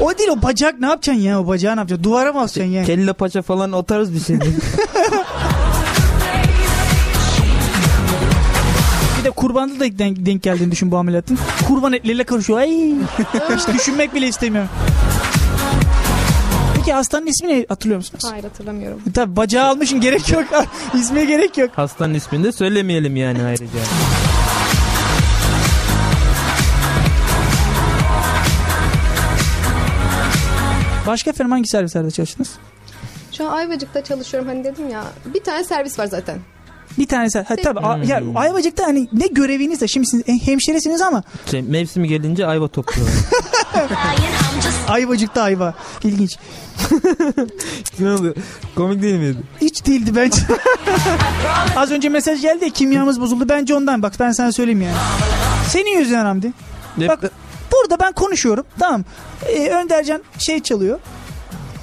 o değil o bacak ne yapacaksın ya o bacağı ne yapacaksın duvara mı asacaksın ya?
Kelle paça falan o tarz bir şey.
Bir de kurbanlı da denk, denk geldiğini düşün bu ameliyatın. Kurban etleriyle karışıyor. Ay. Hiç düşünmek bile istemiyorum. Peki hastanın ismini hatırlıyor musunuz?
Hayır hatırlamıyorum.
Tabii bacağı almışın gerek yok. İsme gerek yok.
Hastanın ismini de söylemeyelim yani ayrıca.
Başka efendim hangi servislerde çalıştınız?
Şu an Ayvacık'ta çalışıyorum hani dedim ya. Bir tane servis var zaten.
Bir tanesi. Ha, tabii a- ya, Ayvacık'ta hani ne göreviniz de şimdi siz e, hemşiresiniz ama
Şey, mevsimi gelince ayva topluyorlar.
Ayvacık'ta ayva. İlginç.
ne oldu? Komik değil miydi?
Hiç değildi bence. Az önce mesaj geldi ya kimyamız bozuldu. Bence ondan bak ben sana söyleyeyim yani. Senin yüzünden Hamdi.
Ne-
Bak burada ben konuşuyorum tamam. Ee, Öndercan şey çalıyor.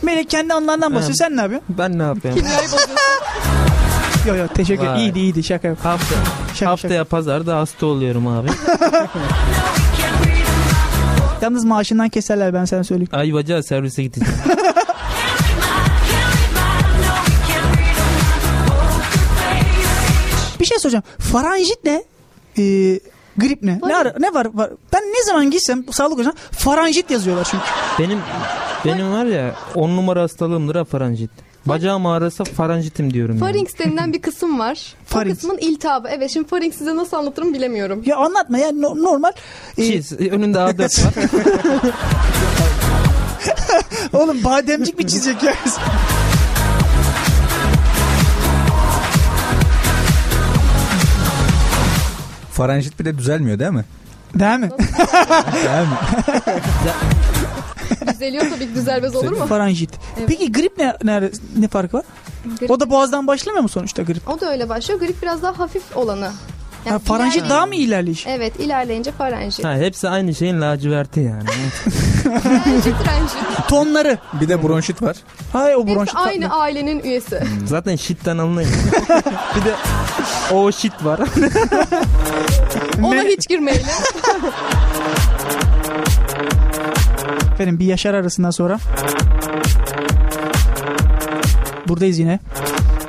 Melek kendi anlarından basıyor.
Ha.
Sen ne yapıyorsun?
Ben ne yapayım?
Yok yok teşekkür ederim.
Vay.
İyiydi iyiydi şaka yap.
Hafta, haftaya pazarda hasta oluyorum abi.
Yalnız maaşından keserler ben sana söyleyeyim.
Ayvaca servise gideceğim.
Bir şey soracağım. Faranjit ne? Ee, grip ne? Ne, ara- ne var, var? Ben ne zaman gitsem sağlık ocağına faranjit yazıyorlar çünkü.
Benim benim var ya 10 numara hastalığımdır ha faranjit. Bacağım ağrısa faranjitim diyorum. Yani.
Farinx denilen bir kısım var.
Farinx.
O kısmın iltihabı. Evet şimdi farinx size nasıl anlatırım bilemiyorum.
Ya anlatma ya no- normal. e,
Çiz, önünde A4 var.
Oğlum bademcik mi çizecek ya?
Faranjit bir de düzelmiyor değil mi?
Değil mi?
değil mi?
Düzeliyor tabii ki düzelmez olur mu?
Faranjit.
Evet.
Peki grip ne, ne, ne farkı var?
Grip-
O da boğazdan başlamıyor mu sonuçta grip?
O da öyle başlıyor. Grip biraz daha hafif olanı. Yani
Ha, faranjit
ilerleyin-
daha mı ilerleyiş?
Evet ilerleyince faranjit.
Ha, hepsi aynı şeyin laciverti yani.
Faranjit, faranjit.
Tonları.
Bir de bronşit var.
Hay o
Hepsi aynı ailenin üyesi.
Zaten shit'ten anlayın. bir de o shit var.
Ona hiç girmeyelim.
Efendim bir Yaşar arasından sonra. Buradayız yine.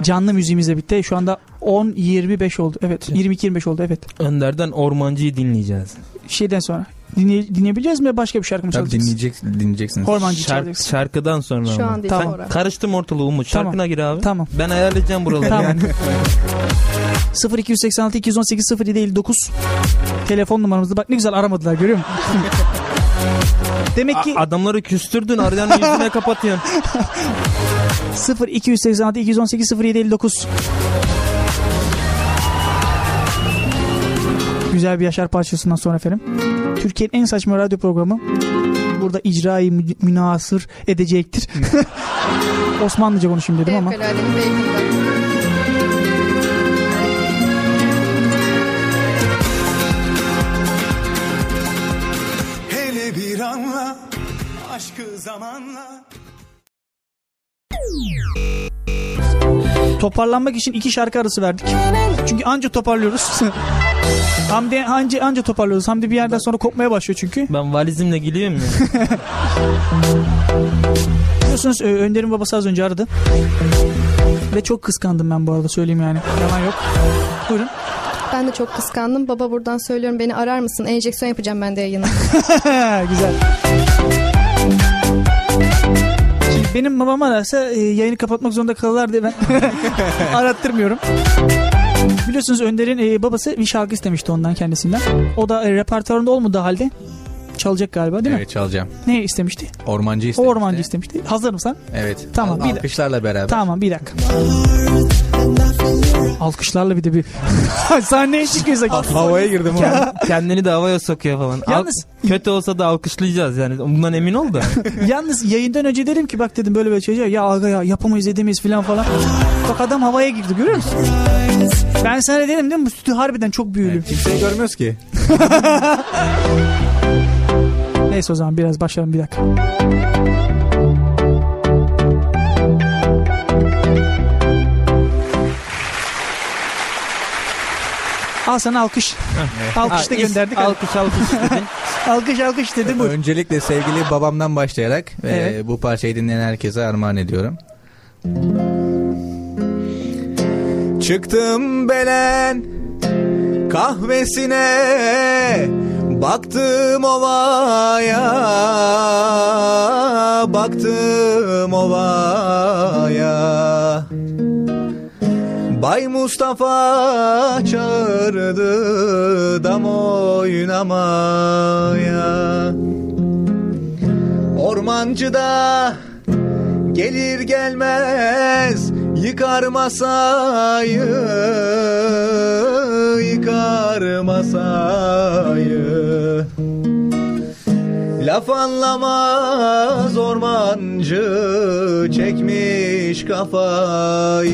Canlı müziğimiz de bitti. Şu anda 10-25 oldu. Evet 22-25 oldu evet.
Önder'den ormancıyı dinleyeceğiz.
Şeyden sonra. Dinleye, dinleyebileceğiz mi? Başka bir şarkı mı
Tabii
çalacağız?
dinleyecek, dinleyeceksiniz.
Ormancı
Şark-
çalacaksın.
şarkıdan sonra
Şu
ama.
an değil, Tamam. sonra.
Karıştım ortalığı Umut. Şarkına
Tamam.
gir abi.
Tamam.
Ben ayarlayacağım buraları
Tamam.
yani.
0286 218 0759 telefon numaramızda bak ne güzel aramadılar görüyor musun? Demek ki
A- adamları küstürdün arayan yüzüne kapatıyorsun.
0286 218 0759 Güzel bir Yaşar parçasından sonra efendim. Türkiye'nin en saçma radyo programı burada icrayı mü- münasır edecektir. Osmanlıca konuşayım dedim ama.
Fevkaladenin beyefendi.
Hele bir anla aşkı zamanla
Toparlanmak için iki şarkı arası verdik. Çünkü anca toparlıyoruz. Hamdi anca, anca toparlıyoruz. Hamdi bir yerden sonra kopmaya başlıyor çünkü.
Ben valizimle geliyorum ya.
Biliyorsunuz e, Önder'in babası az önce aradı. Ve çok kıskandım ben bu arada söyleyeyim yani. Yalan yok. Buyurun.
Ben de çok kıskandım. Baba buradan söylüyorum beni arar mısın? Enjeksiyon yapacağım ben de yayına.
Güzel. Şimdi benim babam ararsa e, yayını kapatmak zorunda kalırlar diye ben arattırmıyorum. Biliyorsunuz Önder'in e, babası bir şarkı istemişti ondan kendisinden. O da e, repertuarında olmadığı halde Çalacak galiba değil mi?
Evet çalacağım.
Ne istemişti?
Ormancı
O
istedim.
ormancı istemişti. Hazır mısın?
Evet.
Tamam, bir de-
Alkışlarla beraber.
Tamam bir dakika. Alkışlarla bir de bir sahneye çıkıyorsak.
Havaya girdim Kendini de havaya sokuyor falan. Al-
Yalnız-
kötü olsa da alkışlayacağız yani. Bundan emin ol da.
Yalnız yayından önce dedim ki bak dedim böyle böyle şey ya aga ya yapamayız edemeyiz falan falan. Bak adam havaya girdi görüyor musun? Ben sana dedim değil mi bu stüdyo harbiden çok büyülü.
Kimseyi görmüyoruz ki.
Neyse o zaman biraz başlayalım bir dakika. Al sana alkış. Alkış da
Ha, is-
gönderdik. hani.
Alkış alkış dedin.
alkış alkış dedim bu.
Öncelikle sevgili babamdan başlayarak e,
Evet.
bu parçayı dinleyen herkese armağan ediyorum. Çıktım Belen kahvesine Baktım ovaya Baktım ovaya Bay Mustafa çağırdı dam oynamaya Ormancı da gelir gelmez yıkar masayı Yıkar masayı Laf anlamaz ormancı çekmiş kafayı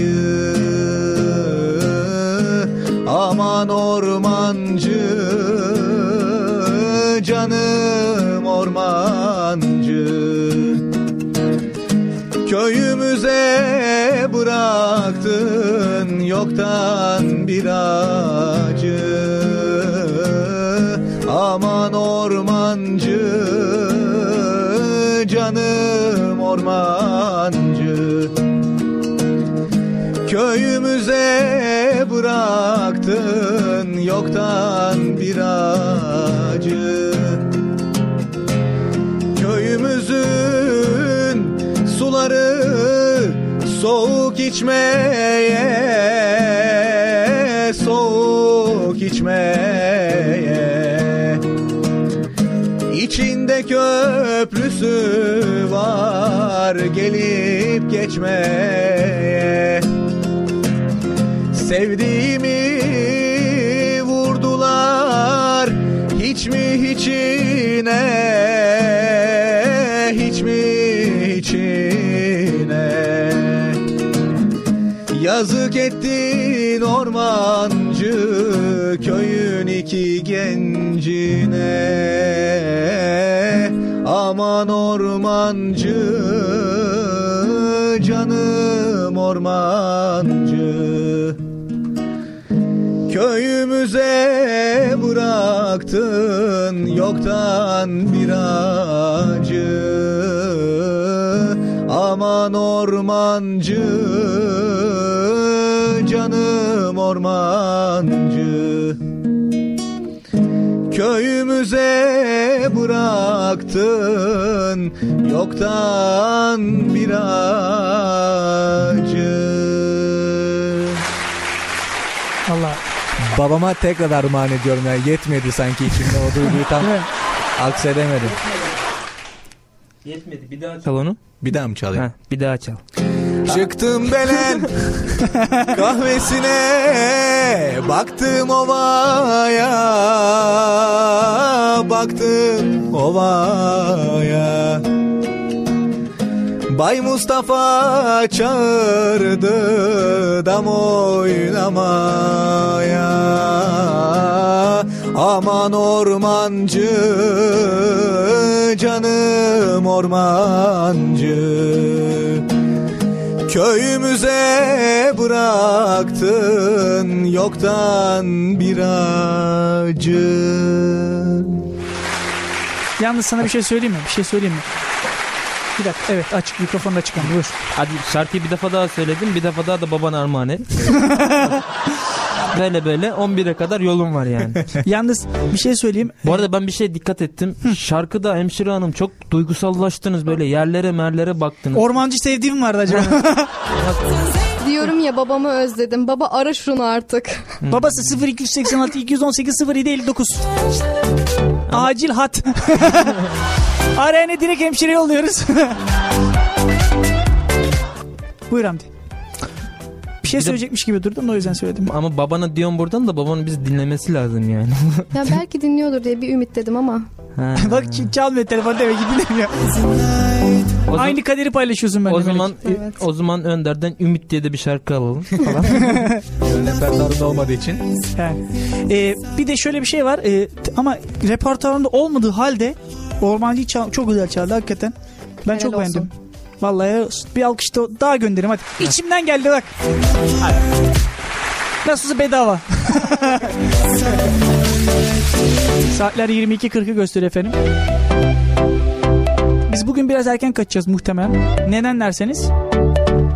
Aman ormancı canım ormancı Köyümüze bıraktın yoktan bir acı Aman ormancı canım ormancı Köyümüze bıraktın yoktan bir acı Köyümüzün suları soğuk içmeye soğuk içmeye İçinde köprüsü var gelip geçmeye Sevdiğimi vurdular hiç mi hiçine hiç mi hiçine Yazık ettin ormancı köyün iki gencine Aman ormancı canım ormancı Köyümüze bıraktın yoktan bir acı Aman ormancı canım ormancı Köyümüze bıraktın yoktan bir acı
Allah.
Babama tekrar armağan ediyorum yani yetmedi sanki içimde o duyguyu tam aksedemedim.
Yetmedi bir daha Çal onu.
Bir daha mı çalayım?
bir daha çal.
Çıktım Belen kahvesine baktım ovaya baktım ovaya Bay Mustafa çağırdı dam oynamaya Aman ormancı canım ormancı Köyümüze bıraktın yoktan bir acı.
Yalnız sana bir şey söyleyeyim mi? Bir şey söyleyeyim mi? Bir dakika evet açık mikrofonu da açık ama buyur.
Hadi şarkıyı bir defa daha söyledim. Bir defa daha da babana armağan et. böyle böyle 11'e kadar yolum var yani.
Yalnız bir şey söyleyeyim.
Bu arada ben bir şey dikkat ettim. Şarkıda hemşire hanım çok duygusallaştınız böyle yerlere merlere baktınız.
Ormancı sevdiğim vardı acaba.
Diyorum ya babamı özledim. Baba ara
Hmm.
şunu artık.
Babası 0286 218 07 59. Acil hat. Arayana direkt hemşire yolluyoruz. Buyur Hamdi. Bir şey söyleyecekmiş gibi durdum da o yüzden söyledim.
Ama babana diyorum buradan da babanın bizi dinlemesi lazım yani.
Ya belki dinliyordur diye bir ümit dedim ama.
Bak ç- çalmıyor telefon demek ki dinlemiyor. Aynı kaderi paylaşıyorsun
Hani
benimle.
o zaman
Melek.
o zaman Önder'den Ümit diye de bir şarkı alalım falan.
Repertuarında olmadığı için.
He. Ee, bir de şöyle bir şey var ee, t- ama repertuarında olmadığı halde Ormancı çal- çok güzel çaldı hakikaten. Ben çok
olsun.
beğendim. Vallahi helal olsun. bir alkış da- daha gönderim hadi. İçimden geldi bak. Hadi. Nasılsa bedava. Saatler 22.40'ı gösteriyor efendim. Biz bugün biraz erken kaçacağız muhtemelen. Neden derseniz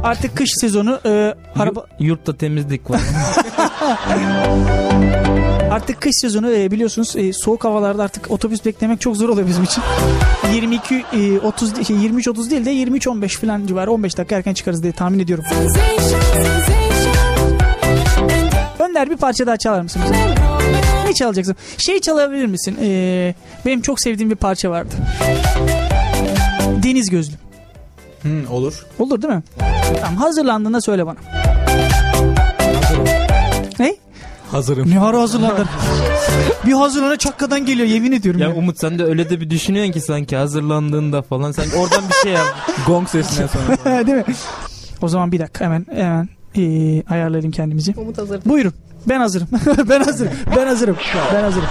artık kış sezonu e, araba
Yurtta temizlik var.
Artık kış sezonu e, biliyorsunuz e, soğuk havalarda artık otobüs beklemek çok zor oluyor bizim için. 22 e, 30 şey, 23 30 değil de 23 15 falan civarı 15 dakika erken çıkarız diye tahmin ediyorum. Önder bir parça daha çalar mısın bize? Ne çalacaksın? Şey çalabilir misin? E, benim çok sevdiğim bir parça vardı. Deniz gözlü.
Hı, olur.
Olur değil mi? Tamam hazırlandığında söyle bana. Ne?
Hazırım.
Ne ara hazırlandın? bir hazırlana çakkadan geliyor yemin ediyorum.
ya Umut sen de öyle de bir düşünüyorsun ki sanki hazırlandığında falan. Sen oradan bir şey yap.
Gong sesinden sonra.
Değil mi? O zaman bir dakika hemen hemen ee, ayarlayalım kendimizi.
Umut hazır.
Buyurun. Ben hazırım. ben hazırım. Ben hazırım. Ben hazırım.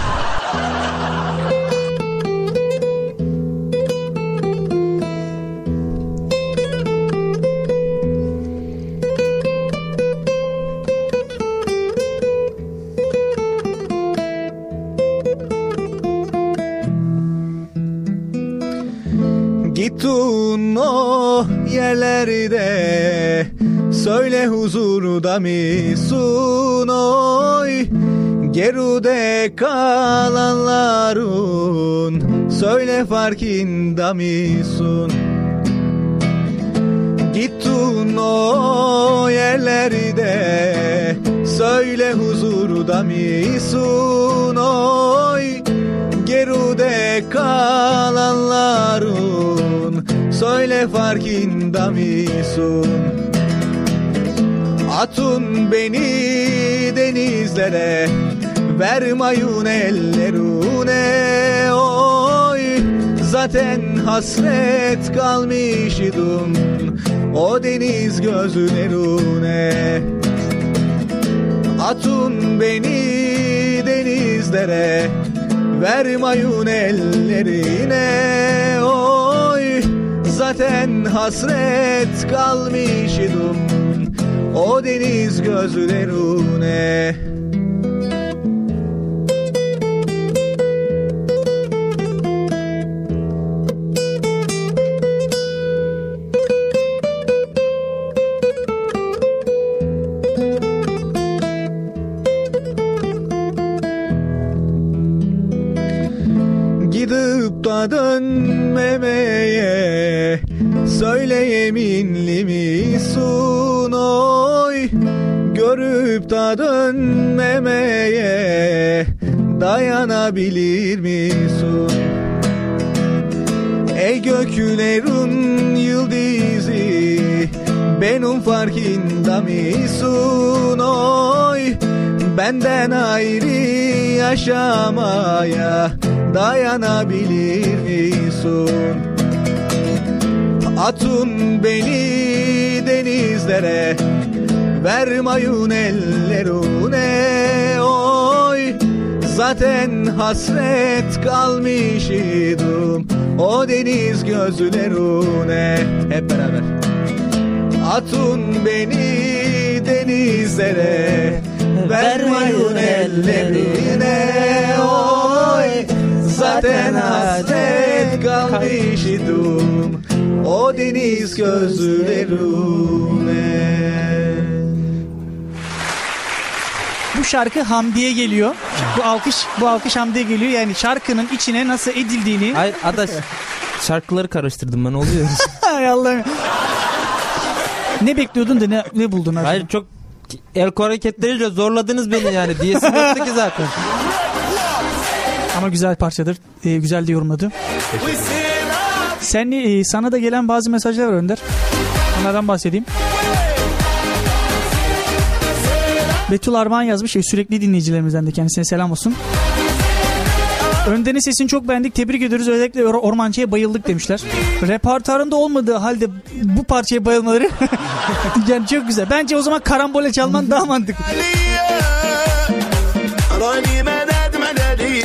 Gittin o yerlerde Söyle huzurda misun oy Gerude kalanların Söyle farkında misun Gittin o yerlerde Söyle huzurda misun oy Gerude kalanların Söyle farkında misun Atın beni denizlere Vermayun ellerune oy Zaten hasret kalmış idim O deniz gözlerune Atın beni denizlere Vermayun ellerine oy Zaten hasret kalmış idim O deniz gözlerine Gidip da dönmemeye Söyle yeminli misun oy Görüp da dönmemeye Dayanabilir misun Ey göklerin yıldızı Benim farkında misun oy Benden ayrı yaşamaya Dayanabilir misun Atın beni denizlere Vermayun ellerune oy Zaten hasret kalmış idim O deniz gözlerune Hep beraber Atın beni denizlere Vermayun ellerine oy Zaten hasret kalmış idim O deniz gözlerine
Bu şarkı Hamdi'ye geliyor. Bu alkış bu alkış Hamdi'ye geliyor. Yani şarkının içine nasıl edildiğini.
Ay adaş şarkıları karıştırdım ben oluyor.
Ay Allah'ım. ne bekliyordun da ne, ne buldun? acaba?
Hayır çok el hareketleriyle zorladınız beni yani diyesi yoktu ki zaten.
Ama güzel parçadır. Ee, güzel de yorumladı. Sen e, sana da gelen bazı mesajlar var Önder. Onlardan bahsedeyim. Betül Armağan yazmış. e, Sürekli dinleyicilerimizden de kendisine selam olsun. Önder'in sesini çok beğendik. Tebrik ediyoruz. Özellikle Or- Ormancı'ya bayıldık demişler. Repertuarında olmadığı halde bu parçaya bayılmaları yani çok güzel. Bence o zaman karambole çalman daha mantıklı.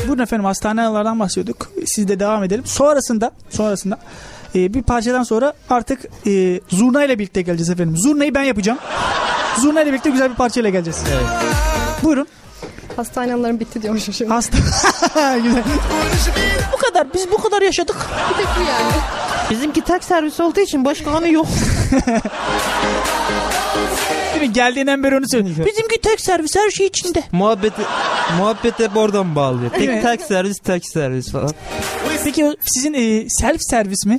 Buyurun efendim hastanelerden bahsediyorduk. Siz de devam edelim. Sonrasında sonrasında e, bir parçadan sonra artık e, zurna ile birlikte geleceğiz efendim. Zurnayı ben yapacağım. zurna ile birlikte güzel bir parçayla geleceğiz. Buyurun.
Hastane anılarım bitti diyormuşum şimdi.
Hasta... Güzel. bu kadar. Biz bu kadar yaşadık.
Bir tek bu yani.
Bizimki tak servis olduğu için başka anı yok.
Değil mi? Geldiğinden beri onu söylüyor. Bizimki tek servis her şey içinde.
Muhabbeti, muhabbet hep oradan bağlıyor. Tek
Evet.
tak servis, tak servis falan.
Peki o sizin e, self servis mi?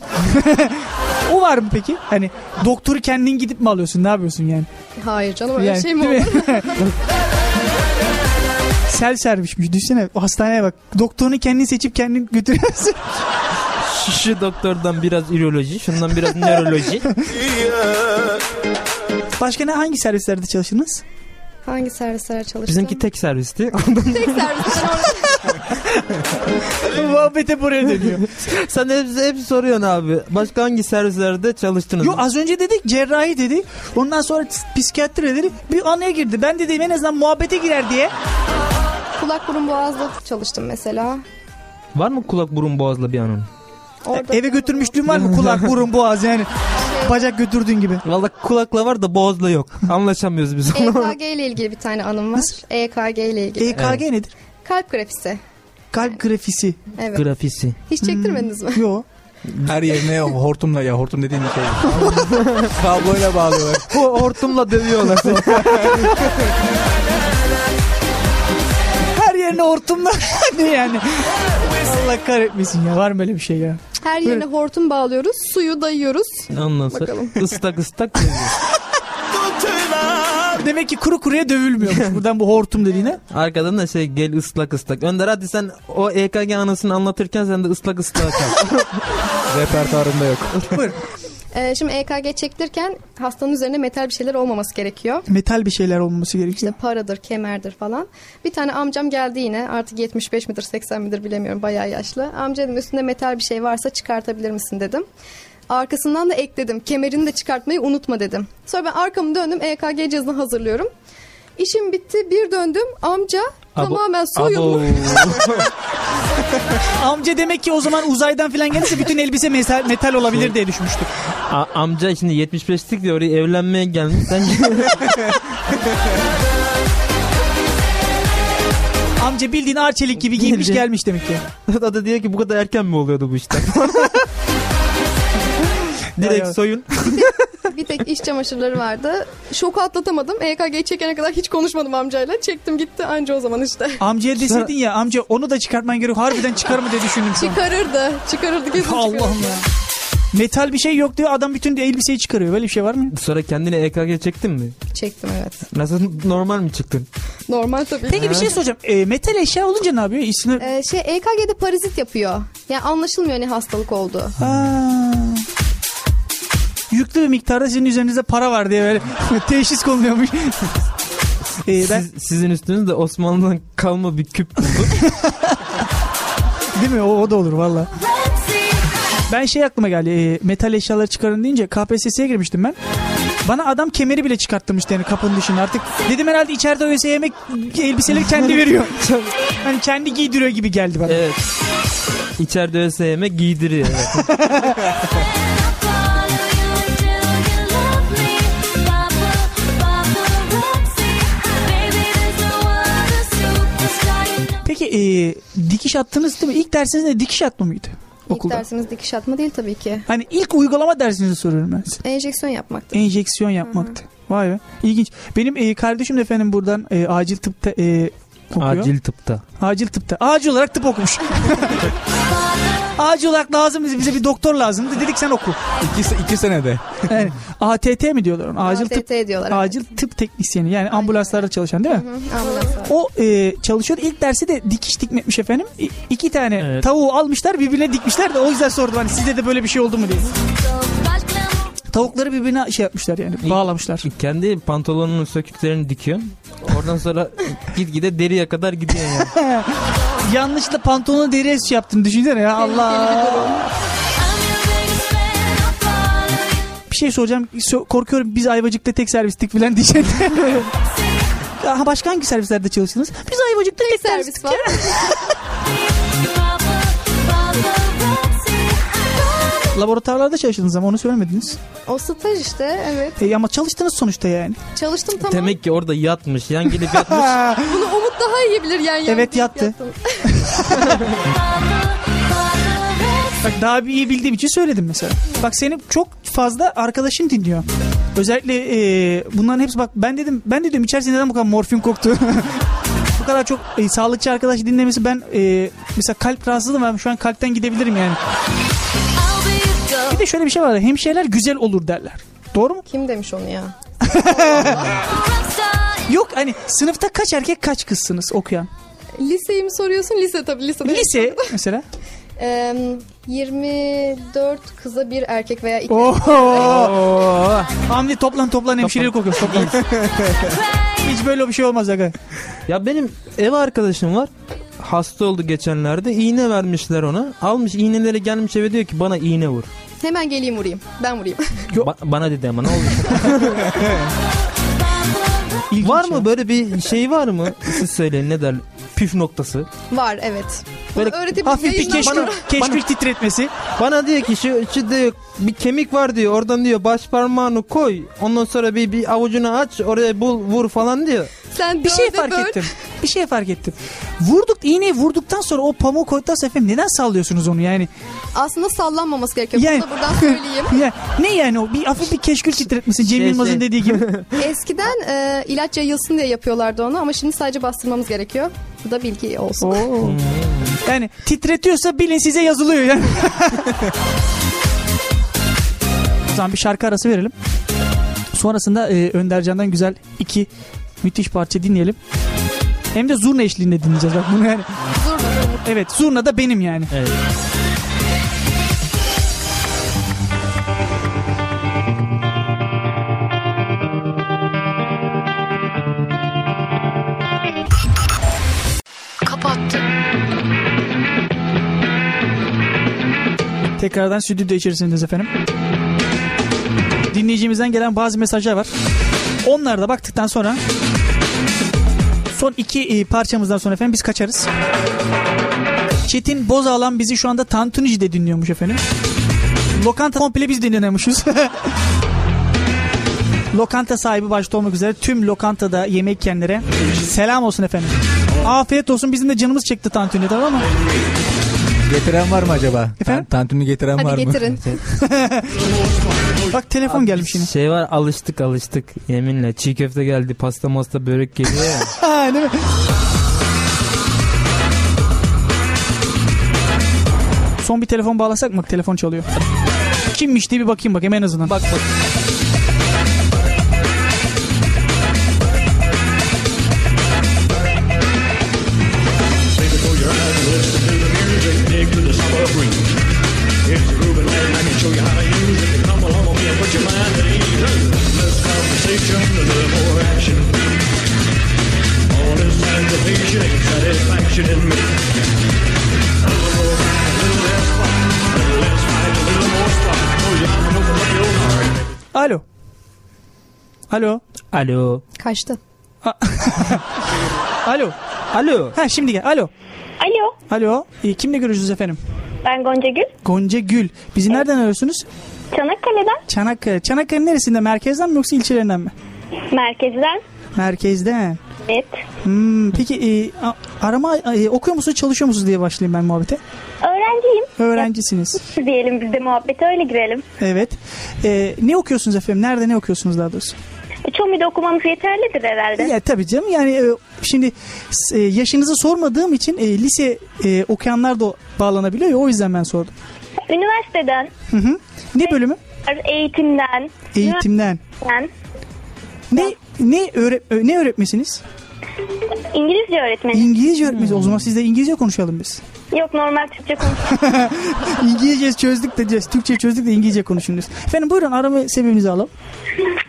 o var mı peki? Hani doktoru kendin gidip mi alıyorsun? Ne yapıyorsun yani?
Hayır canım öyle
Yani,
şey mi
değil
olur?
Self servismiş. Düşünsene o hastaneye bak. Doktorunu kendin seçip kendin götürüyorsun.
Şu, şu doktordan biraz üroloji, şundan biraz nöroloji.
Başka ne hangi servislerde çalıştınız?
Hangi servislere çalıştın?
Bizimki tek servisti.
tek servisler orada.
Muhabbete buraya dönüyor.
Sen hep, hep soruyorsun abi. Başka hangi servislerde çalıştınız?
Yo az önce dedik cerrahi dedik. Ondan sonra ps- psikiyatri dedik. Bir anaya girdi. Ben dediğim en azından muhabbete girer diye.
Kulak burun boğazda çalıştım mesela.
Var mı kulak burun boğazla bir anın?
Orada Şey-
Eve götürmüşlüğün var mı? Kulak, burun, boğaz yani. Bacak götürdüğün gibi.
Valla kulakla var da boğazla yok. Anlaşamıyoruz biz.
EKG E ile ilgili bir tane anım var. EKG ile ilgili.
EKG E nedir?
Kalp grafisi.
Kalp grafisi.
Evet.
Grafisi.
Hiç çektirmediniz mi?
Yo.
Her yerine hortumla ya hortum dediğim şey. Kabloyla bağlıyorlar.
hortumla dövüyorlar seni.
Her yerine hortumla. ne yani? Allah kahretmesin ya. Var mı öyle bir şey ya?
Her yerine hortum bağlıyoruz. Suyu dayıyoruz.
Ondan sonra
Bakalım.
ıslak ıslak dövüyor.
Demek ki kuru kuruya dövülmüyormuş. Buradan bu hortum dediğine.
Arkadan da şey gel ıslak ıslak. Önder hadi sen o EKG anısını anlatırken sen de ıslak ıslak kal.
Repertuarında yok.
Ee, şimdi EKG çekilirken hastanın üzerinde metal bir şeyler olmaması gerekiyor.
Metal bir şeyler olması gerekiyor.
Paradır, kemerdir falan. Bir tane amcam geldi yine. Artık 75 midir, 80 midir bilemiyorum. Bayağı yaşlı. Amca dedim üstünde metal bir şey varsa çıkartabilir misin dedim. Arkasından da ekledim. Kemerini de çıkartmayı unutma dedim. Sonra ben arkamı döndüm. EKG cihazını hazırlıyorum. İşim bitti. Bir döndüm. Amca
Abo-
tamamen soyulmuş.
Amca demek ki o zaman uzaydan falan gelirse bütün elbise mesel- metal olabilir diye düşünmüştük.
A- amca şimdi 75'lik de oraya evlenmeye gelmiş. Sen
Amca bildiğin arçelik gibi giymiş
Gelecek.
gelmiş demek ki.
o da diyor ki bu kadar erken mi oluyordu bu işte? Direkt
Vay
soyun.
bir tek iş çamaşırları vardı. Şoku atlatamadım. EKG'yi çekene kadar hiç konuşmadım amcayla. Çektim gitti anca o zaman işte.
Amcaya deseydin ya amca onu da çıkartman gerek. Harbiden çıkar mı diye düşündüm şu an.
Çıkarırdı. Çıkarırdı kesin
Allah'ım
çıkarırdı.
Metal bir şey yok diyor adam bütün de elbiseyi çıkarıyor. Böyle bir şey var mı?
Sonra kendine EKG çektin mi?
Çektim evet.
Nasıl normal mi çıktın?
Normal tabii.
Peki bir şey soracağım. E, metal eşya olunca ne yapıyor? İsmi...
Ee, şey EKG'de parazit yapıyor. Yani anlaşılmıyor ne hastalık oldu.
Aa. Yüklü bir miktarda sizin üzerinizde para var diye böyle teşhis konuluyormuş. E, ben,
Siz- sizin üstünüzde Osmanlı'dan kalma bir küp buldu.
değil mi? O, o da olur valla. Ben şey aklıma geldi. e, metal eşyaları çıkarın deyince KPSS'ye girmiştim ben. Bana adam kemeri bile çıkarttırmıştı yani kapının dışına artık. Dedim herhalde içeride ÖSYM yemek elbiseleri kendi veriyor. hani kendi giydiriyor gibi geldi bana.
evet. İçeride ÖSYM giydiriyor. Evet.
Peki e, dikiş attınız değil mi? İlk dersiniz ne? Dikiş atma mıydı?
İlk
okulda.
dersimiz dikiş atma değil tabii ki.
Hani ilk uygulama dersinizi soruyorum ben size.
Enjeksiyon yapmaktı.
Enjeksiyon yapmaktı. Vay be. İlginç. Benim e, kardeşim de efendim buradan e, acil tıpta e, okuyor.
Acil tıpta.
Acil tıpta. Acil olarak tıp okumuş. Acil olarak lazım bize, bize bir doktor lazımdı. Dedik sen oku.
İki, iki senede.
Yani ATT mi diyorlar ona? Acil tıp,
ATT diyorlar, evet.
Acil tıp teknisyeni yani ambulanslarda çalışan değil mi?
Ambulanslar.
O e, çalışıyordu. İlk dersi de dikiş dikmetmiş efendim. İ- iki tane
Evet.
tavuğu almışlar birbirine dikmişler de o yüzden sordum hani sizde de böyle bir şey oldu mu diye. Tavukları birbirine şey yapmışlar yani. Bağlamışlar.
Kendi pantolonunun söküklerini dikiyorsun. Oradan sonra gitgide deriye kadar gidiyor yani.
Yanlışla pantolonu deriye şey yaptım düşünsene ya Allah. Bir şey soracağım So- korkuyorum biz Ayvacık'ta tek servistik falan diyecek. Aha, başka hangi servislerde çalıştınız? Biz Ayvacık'ta tek, servis var. Laboratuvarlarda çalıştınız ama onu söylemediniz.
O staj işte evet.
E, ama çalıştınız sonuçta yani.
Çalıştım tamam.
Demek ki orada yatmış, yan gelip yatmış.
Bunu Umut daha iyi bilir yani.
Evet, yattı. Bak daha bir iyi bildiğim için söyledim mesela. Bak seni çok fazla arkadaşın dinliyor. Özellikle e, bunların hepsi bak ben dedim ben de diyorum içerisinde neden bu kadar morfin koktu? bu kadar çok e, sağlıkçı arkadaş dinlemesi ben e, mesela kalp rahatsızlığım var şu an kalpten gidebilirim yani. Bir de şöyle bir şey var hemşireler güzel olur derler. Doğru mu?
Kim demiş onu ya?
Yok hani sınıfta kaç erkek kaç kızsınız okuyan?
Liseyi mi soruyorsun? Lise tabii lise.
Lise mesela.
Eee, 24 kıza bir erkek veya iki.
Oh. Oho. Hamdi toplan toplan hemşirelik okuyoruz toplan. Hiç böyle bir şey olmaz aga.
Ya benim ev arkadaşım var. Hasta oldu geçenlerde. İğne vermişler ona. Almış iğneleri gelmiş eve diyor ki bana iğne vur.
Hemen geleyim vurayım. Ben vurayım.
Ba- bana dedi ama ne oldu? var mı böyle bir şey var mı? Siz söyleyin ne der? Püf noktası.
Var evet. Bunu
Böyle
öğretip
hafif bir keşkül- keşkül
titretmesi. Bana diyor ki şu, şu diyor, bir kemik var diyor. Oradan diyor baş parmağını koy. Ondan sonra bir, bir avucunu aç. Oraya bul vur falan diyor.
Sen
bir şey
dörde
fark
böl.
ettim. Bir şey fark ettim. Vurduk iğneyi vurduktan sonra o pamuğu koyduktan sonra efendim neden sallıyorsunuz onu yani?
Aslında sallanmaması gerekiyor. Bunu da buradan söyleyeyim.
Ya, ne yani o bir hafif bir keşkül titretmesi Cem
Şey,
Yılmaz'ın
şey.
dediği gibi.
Eskiden e, ilaç yayılsın diye yapıyorlardı onu ama şimdi sadece bastırmamız gerekiyor. Bu da bilgi olsun.
yani titretiyorsa bilin size yazılıyor yani. o zaman bir şarkı arası verelim. Sonrasında e, Önder Can'dan güzel iki müthiş parça dinleyelim. Hem de zurna eşliğinde dinleyeceğiz bak bunu yani. Evet zurna da benim yani.
Evet.
Kapattım.
Tekrardan stüdyo içerisindeyiz efendim. Dinleyicimizden gelen bazı mesajlar var. Onlara da baktıktan sonra son iki e, parçamızdan sonra efendim biz kaçarız. Çetin Bozağlan bizi şu anda Tantunici'de dinliyormuş efendim. Lokanta komple biz dinleniyormuşuz. lokanta sahibi başta olmak üzere tüm lokantada yemek yiyenlere selam olsun efendim. Afiyet olsun bizim de canımız çekti Tantuni'de tamam mı?
Getiren var mı acaba? Efendim? Tantuni getiren
Hadi
var mı?
getirin. Bak telefon gelmiş yine.
Şey var alıştık alıştık yeminle. Çiğ köfte geldi pasta masta börek geliyor ya.
Ha, değil mi? Son bir telefon bağlasak mı? Telefon çalıyor. Kimmiş diye bir bakayım bakayım en azından. Bak bak. Alo. Alo.
Alo.
Kaçtı.
Alo.
Alo.
Ha şimdi gel. Alo.
Alo.
Alo. Ee, kimle görüşürüz efendim?
Ben Gonca Gül.
Gonca Gül. Bizi nereden arıyorsunuz?
Çanakkale'den.
Çanakkale. Çanakkale'nin neresinde? Merkezden mi yoksa ilçelerinden mi?
Merkezden.
Merkezden.
Evet.
Hmm, peki e, a- arama e, okuyor musunuz çalışıyor musunuz diye başlayayım ben muhabbete.
Öğrenciyim.
Öğrencisiniz.
Diyelim biz de muhabbete öyle girelim.
Evet. Ee, ne
E,
okuyorsunuz efendim? Nerede ne okuyorsunuz daha doğrusu?
Çomi'de okumamız yeterlidir herhalde.
Ya tabii canım yani e, Şimdi s- e, yaşınızı sormadığım için e, lise e, okuyanlar da bağlanabiliyor ya o yüzden ben sordum.
Üniversiteden,
Hı hı. Ne bölümü?
eğitimden.
Eğitimden.
üniversiteden.
Ne ne öğret ö- ne öğretmesiniz?
İngilizce öğretmeni.
İngilizce öğretmeniz. O zaman sizle İngilizce konuşalım biz.
Yok normal Türkçe konuş.
İngilizce çözdük de Türkçe çözdük de İngilizce konuşunuz. Efendim buyurun arama sebebinizi alalım.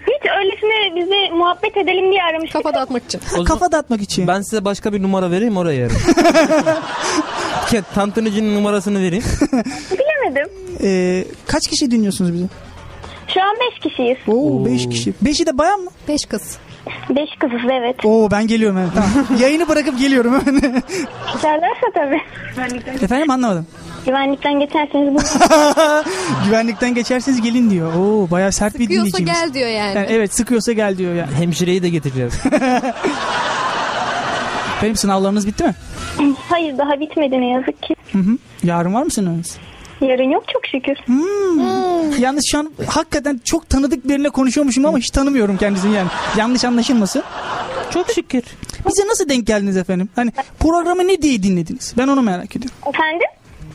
Hiç öylesine bize muhabbet edelim diye aramıştık. Kafa
dağıtmak için.
Kafa
dağıtmak için.
Ben size başka bir numara vereyim oraya yarın. Ke- Tantunicinin numarasını vereyim.
Bilemedim.
Ee, kaç kişi dinliyorsunuz bizi?
Şu an beş kişiyiz.
Oo, 5 kişi. 5'i de bayan mı?
5 kız.
5 kızız evet.
Oo ben geliyorum hemen. Tamam. Yayını bırakıp geliyorum hemen.
İsterlerse tabii.
Efendim anlamadım.
Güvenlikten geçerseniz bu
Güvenlikten geçerseniz gelin diyor. Oo bayağı sert bir
Sıkıyorsa
dinleyicimiz.
gel diyor yani.
evet sıkıyorsa gel diyor yani.
Hemşireyi de getireceğiz.
Benim sınavlarınız bitti mi?
Hayır daha bitmedi ne yazık ki.
Hı hı. Yarın var mı sınavınız?
Yarın yok çok şükür.
Yalnız şu an hakikaten çok tanıdık birine konuşuyormuşum ama hiç tanımıyorum kendisini yani. Yanlış anlaşılmasın. Çok şükür. Bize nasıl denk geldiniz efendim? Hani programı ne diye dinlediniz? Ben onu merak ediyorum.
Efendim?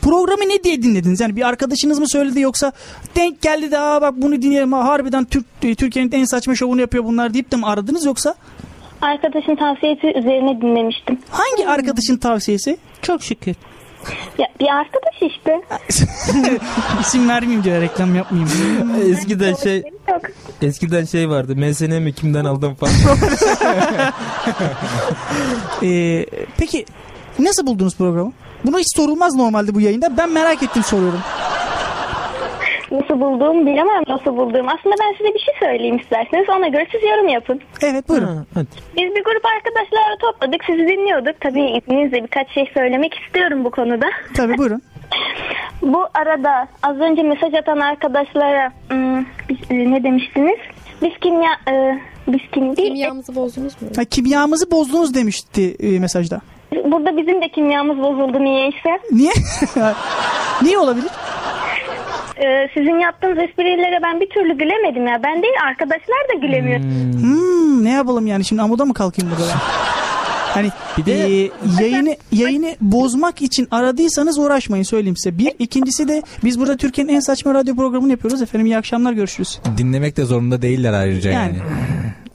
Programı ne diye dinlediniz? Yani bir arkadaşınız mı söyledi yoksa denk geldi de aa bak bunu dinleyelim ha, harbiden Türk e, Türkiye'nin en saçma şovunu yapıyor bunlar deyip de mi aradınız yoksa?
Arkadaşın tavsiyesi üzerine dinlemiştim.
Hangi arkadaşın tavsiyesi? Çok şükür.
Ya, bir arkadaş işte.
İsim vermeyeyim diye reklam yapmayayım.
Eskiden şey Eskiden şey vardı. MSN mi kimden aldım falan.
Ee, peki nasıl buldunuz programı? Buna hiç sorulmaz normalde bu yayında. Ben merak ettim soruyorum.
Nasıl bulduğumu bilemem nasıl bulduğumu. Aslında ben size bir şey söyleyeyim isterseniz. Ona göre siz yorum yapın.
Evet buyurun.
Biz bir grup arkadaşlarla topladık. Sizi dinliyorduk. Tabii izninizle birkaç şey söylemek istiyorum bu konuda.
Tabii buyurun.
Bu arada az önce mesaj atan arkadaşlara hmm, biz- e, ne demiştiniz? Biz kimya... e, biz kim değil.
Kimyamızı bozdunuz mu?
Ha, kimyamızı bozdunuz demişti e, mesajda.
Burada bizim de kimyamız bozuldu niyeyse.
Niye? Niye olabilir?
Ee, sizin yaptığınız esprilere ben bir türlü gülemedim ya. Ben değil arkadaşlar da gülemiyor.
Hmm, ne yapalım yani şimdi amuda mı kalkayım burada? ben? Hani e, yayını yayını bozmak için aradıysanız uğraşmayın söyleyeyim size. Bir ikincisi de biz burada Türkiye'nin en saçma radyo programını yapıyoruz efendim. iyi akşamlar görüşürüz.
Dinlemek de zorunda değiller ayrıca yani.
Yani.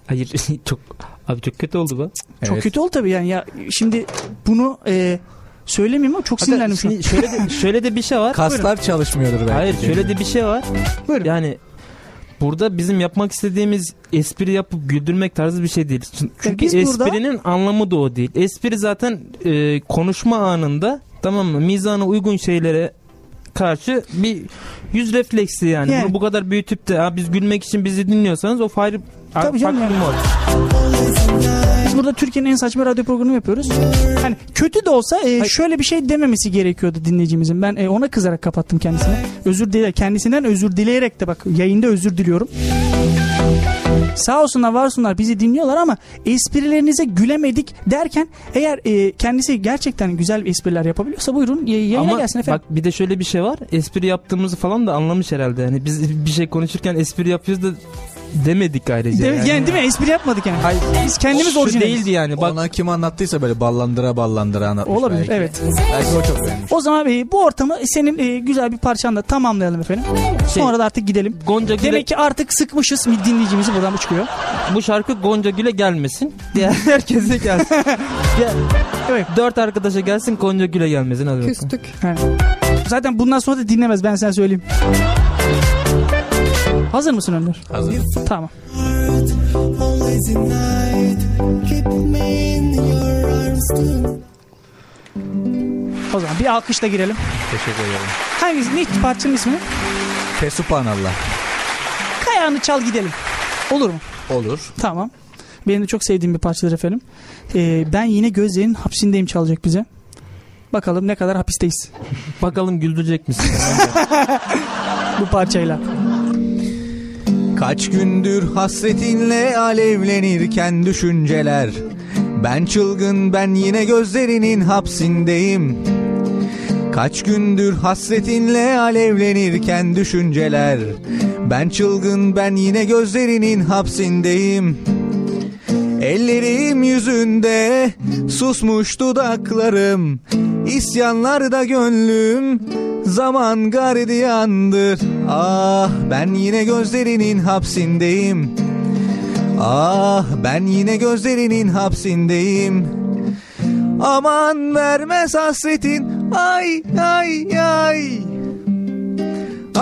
Hayır çok abi çok kötü oldu bu.
Çok kötü oldu tabii yani ya şimdi bunu e, söylemeyeyim ama çok
Hatta
sinirlendim şu an.
şimdi şöyle de, şöyle de bir şey var.
Kaslar çalışmıyordur belki.
Hayır şöyle de bir şey var. Yani burada bizim yapmak istediğimiz espri yapıp güldürmek tarzı bir şey değil. Çün- Çünkü
E, biz burada-
esprinin anlamı da o değil. Espri zaten e, konuşma anında tamam mı? Mizana uygun şeylere karşı bir yüz refleksi yani.
Yani.
Bunu bu kadar büyütüp de "Ha, biz gülmek için bizi dinliyorsanız o fayr
Tabii canım yani. Biz burada Türkiye'nin en saçma radyo programını yapıyoruz. Hani kötü de olsa e, şöyle bir şey dememesi gerekiyordu dinleyicimizin. Ben e, ona kızarak kapattım kendisine. Özür dile kendisinden özür dileyerek de bak yayında özür diliyorum. Sağ olsunlar var olsunlar bizi dinliyorlar ama esprilerinize gülemedik derken eğer e, kendisi gerçekten güzel espriler yapabiliyorsa buyurun e, yayına
Ama
gelsin efendim.
bak bir de şöyle bir şey var. Espri yaptığımızı falan da anlamış herhalde. Yani biz bir şey konuşurken espri yapıyoruz da demedik ayrıca.
De- yani değil mi? Espri yapmadık yani. Biz kendimiz
Şu
orijinaliz.
değildi yani. Bak
Ona kim anlattıysa böyle ballandıra ballandıra anlatmış
Olabilir,
belki.
evet.
Belki o çok beğenmiş.
O zaman e, bu ortamı senin e, güzel bir parçanla tamamlayalım efendim.
Şey-
Sonra da artık gidelim.
Gonca Gül'e-
Demek ki artık sıkmışız dinleyicimizi buradan bu çıkıyor.
bu şarkı Gonca Gül'e gelmesin. Diğer herkese gelsin. Gel- Dört arkadaşa gelsin Gonca Gül'e gelmesin. Hadi bakalım.
He. Zaten bundan sonra da dinlemez ben sana söyleyeyim. Hazır mısın Önder?
Hazırım.
Tamam.
Always in night, keep me in your arms tonight.
O zaman bir alkışla girelim.
Teşekkür ederim.
Hangisi? Ne parçanın ismi?
Şey, Fesupanallah.
Kayağını çal gidelim. Olur mu?
Olur.
Tamam. Benim de çok sevdiğim bir parçadır efendim. Ee, ben yine gözlerin hapsindeyim çalacak bize. Bakalım ne kadar hapisteyiz.
Bakalım güldürecek misin?
Bu parçayla.
Kaç gündür hasretinle alevlenirken düşünceler Ben çılgın ben yine gözlerinin hapsindeyim Kaç gündür hasretinle alevlenirken düşünceler Ben çılgın ben yine gözlerinin hapsindeyim Ellerim yüzünde susmuş dudaklarım İsyanlarda gönlüm zaman gardiyandır Ah ben yine gözlerinin hapsindeyim Ah ben yine gözlerinin hapsindeyim Aman vermez hasretin ay ay ay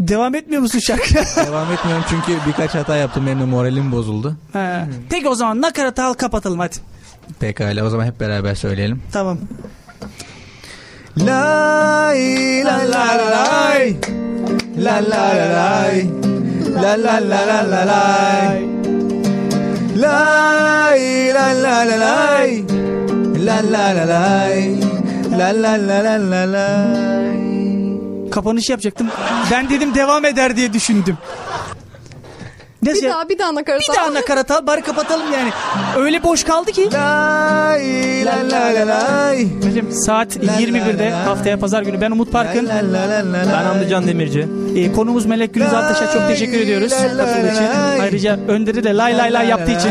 Devam etmiyor musun şarkı?
Devam etmiyorum çünkü birkaç hata yaptım benim de moralim bozuldu.
He. Peki o zaman nakaratı al kapatalım hadi.
Pekala o zaman hep beraber söyleyelim.
Tamam.
Lay la la la lay La la la lay La la la la la lay Lay la la la lay La la la lay La la la la la lay
Kapanış yapacaktım. Ben dedim devam eder diye düşündüm.
Bir daha bir daha nakarat
Bir daha nakarat al bari kapatalım yani. Öyle boş kaldı ki. Hocam saat 21'de haftaya pazar günü ben Umut Parkın.
Ben Hamdican Demirci.
Ee, konuğumuz Melek Gülüz Altaş'a çok teşekkür ediyoruz katıldığı için. Ayrıca Önder'i de lay lay lay yaptığı için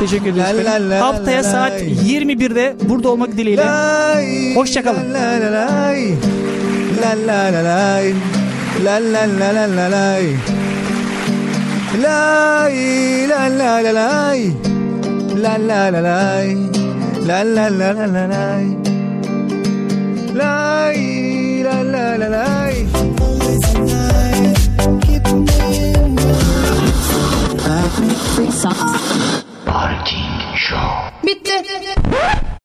teşekkür ediyoruz. efendim. Haftaya saat 21'de burada olmak dileğiyle.
La
Hoşçakalın.
la la lay La la la la la lay Lay la la la lay La la la lay La la la la la lay Lay la la la lay
Parking Show.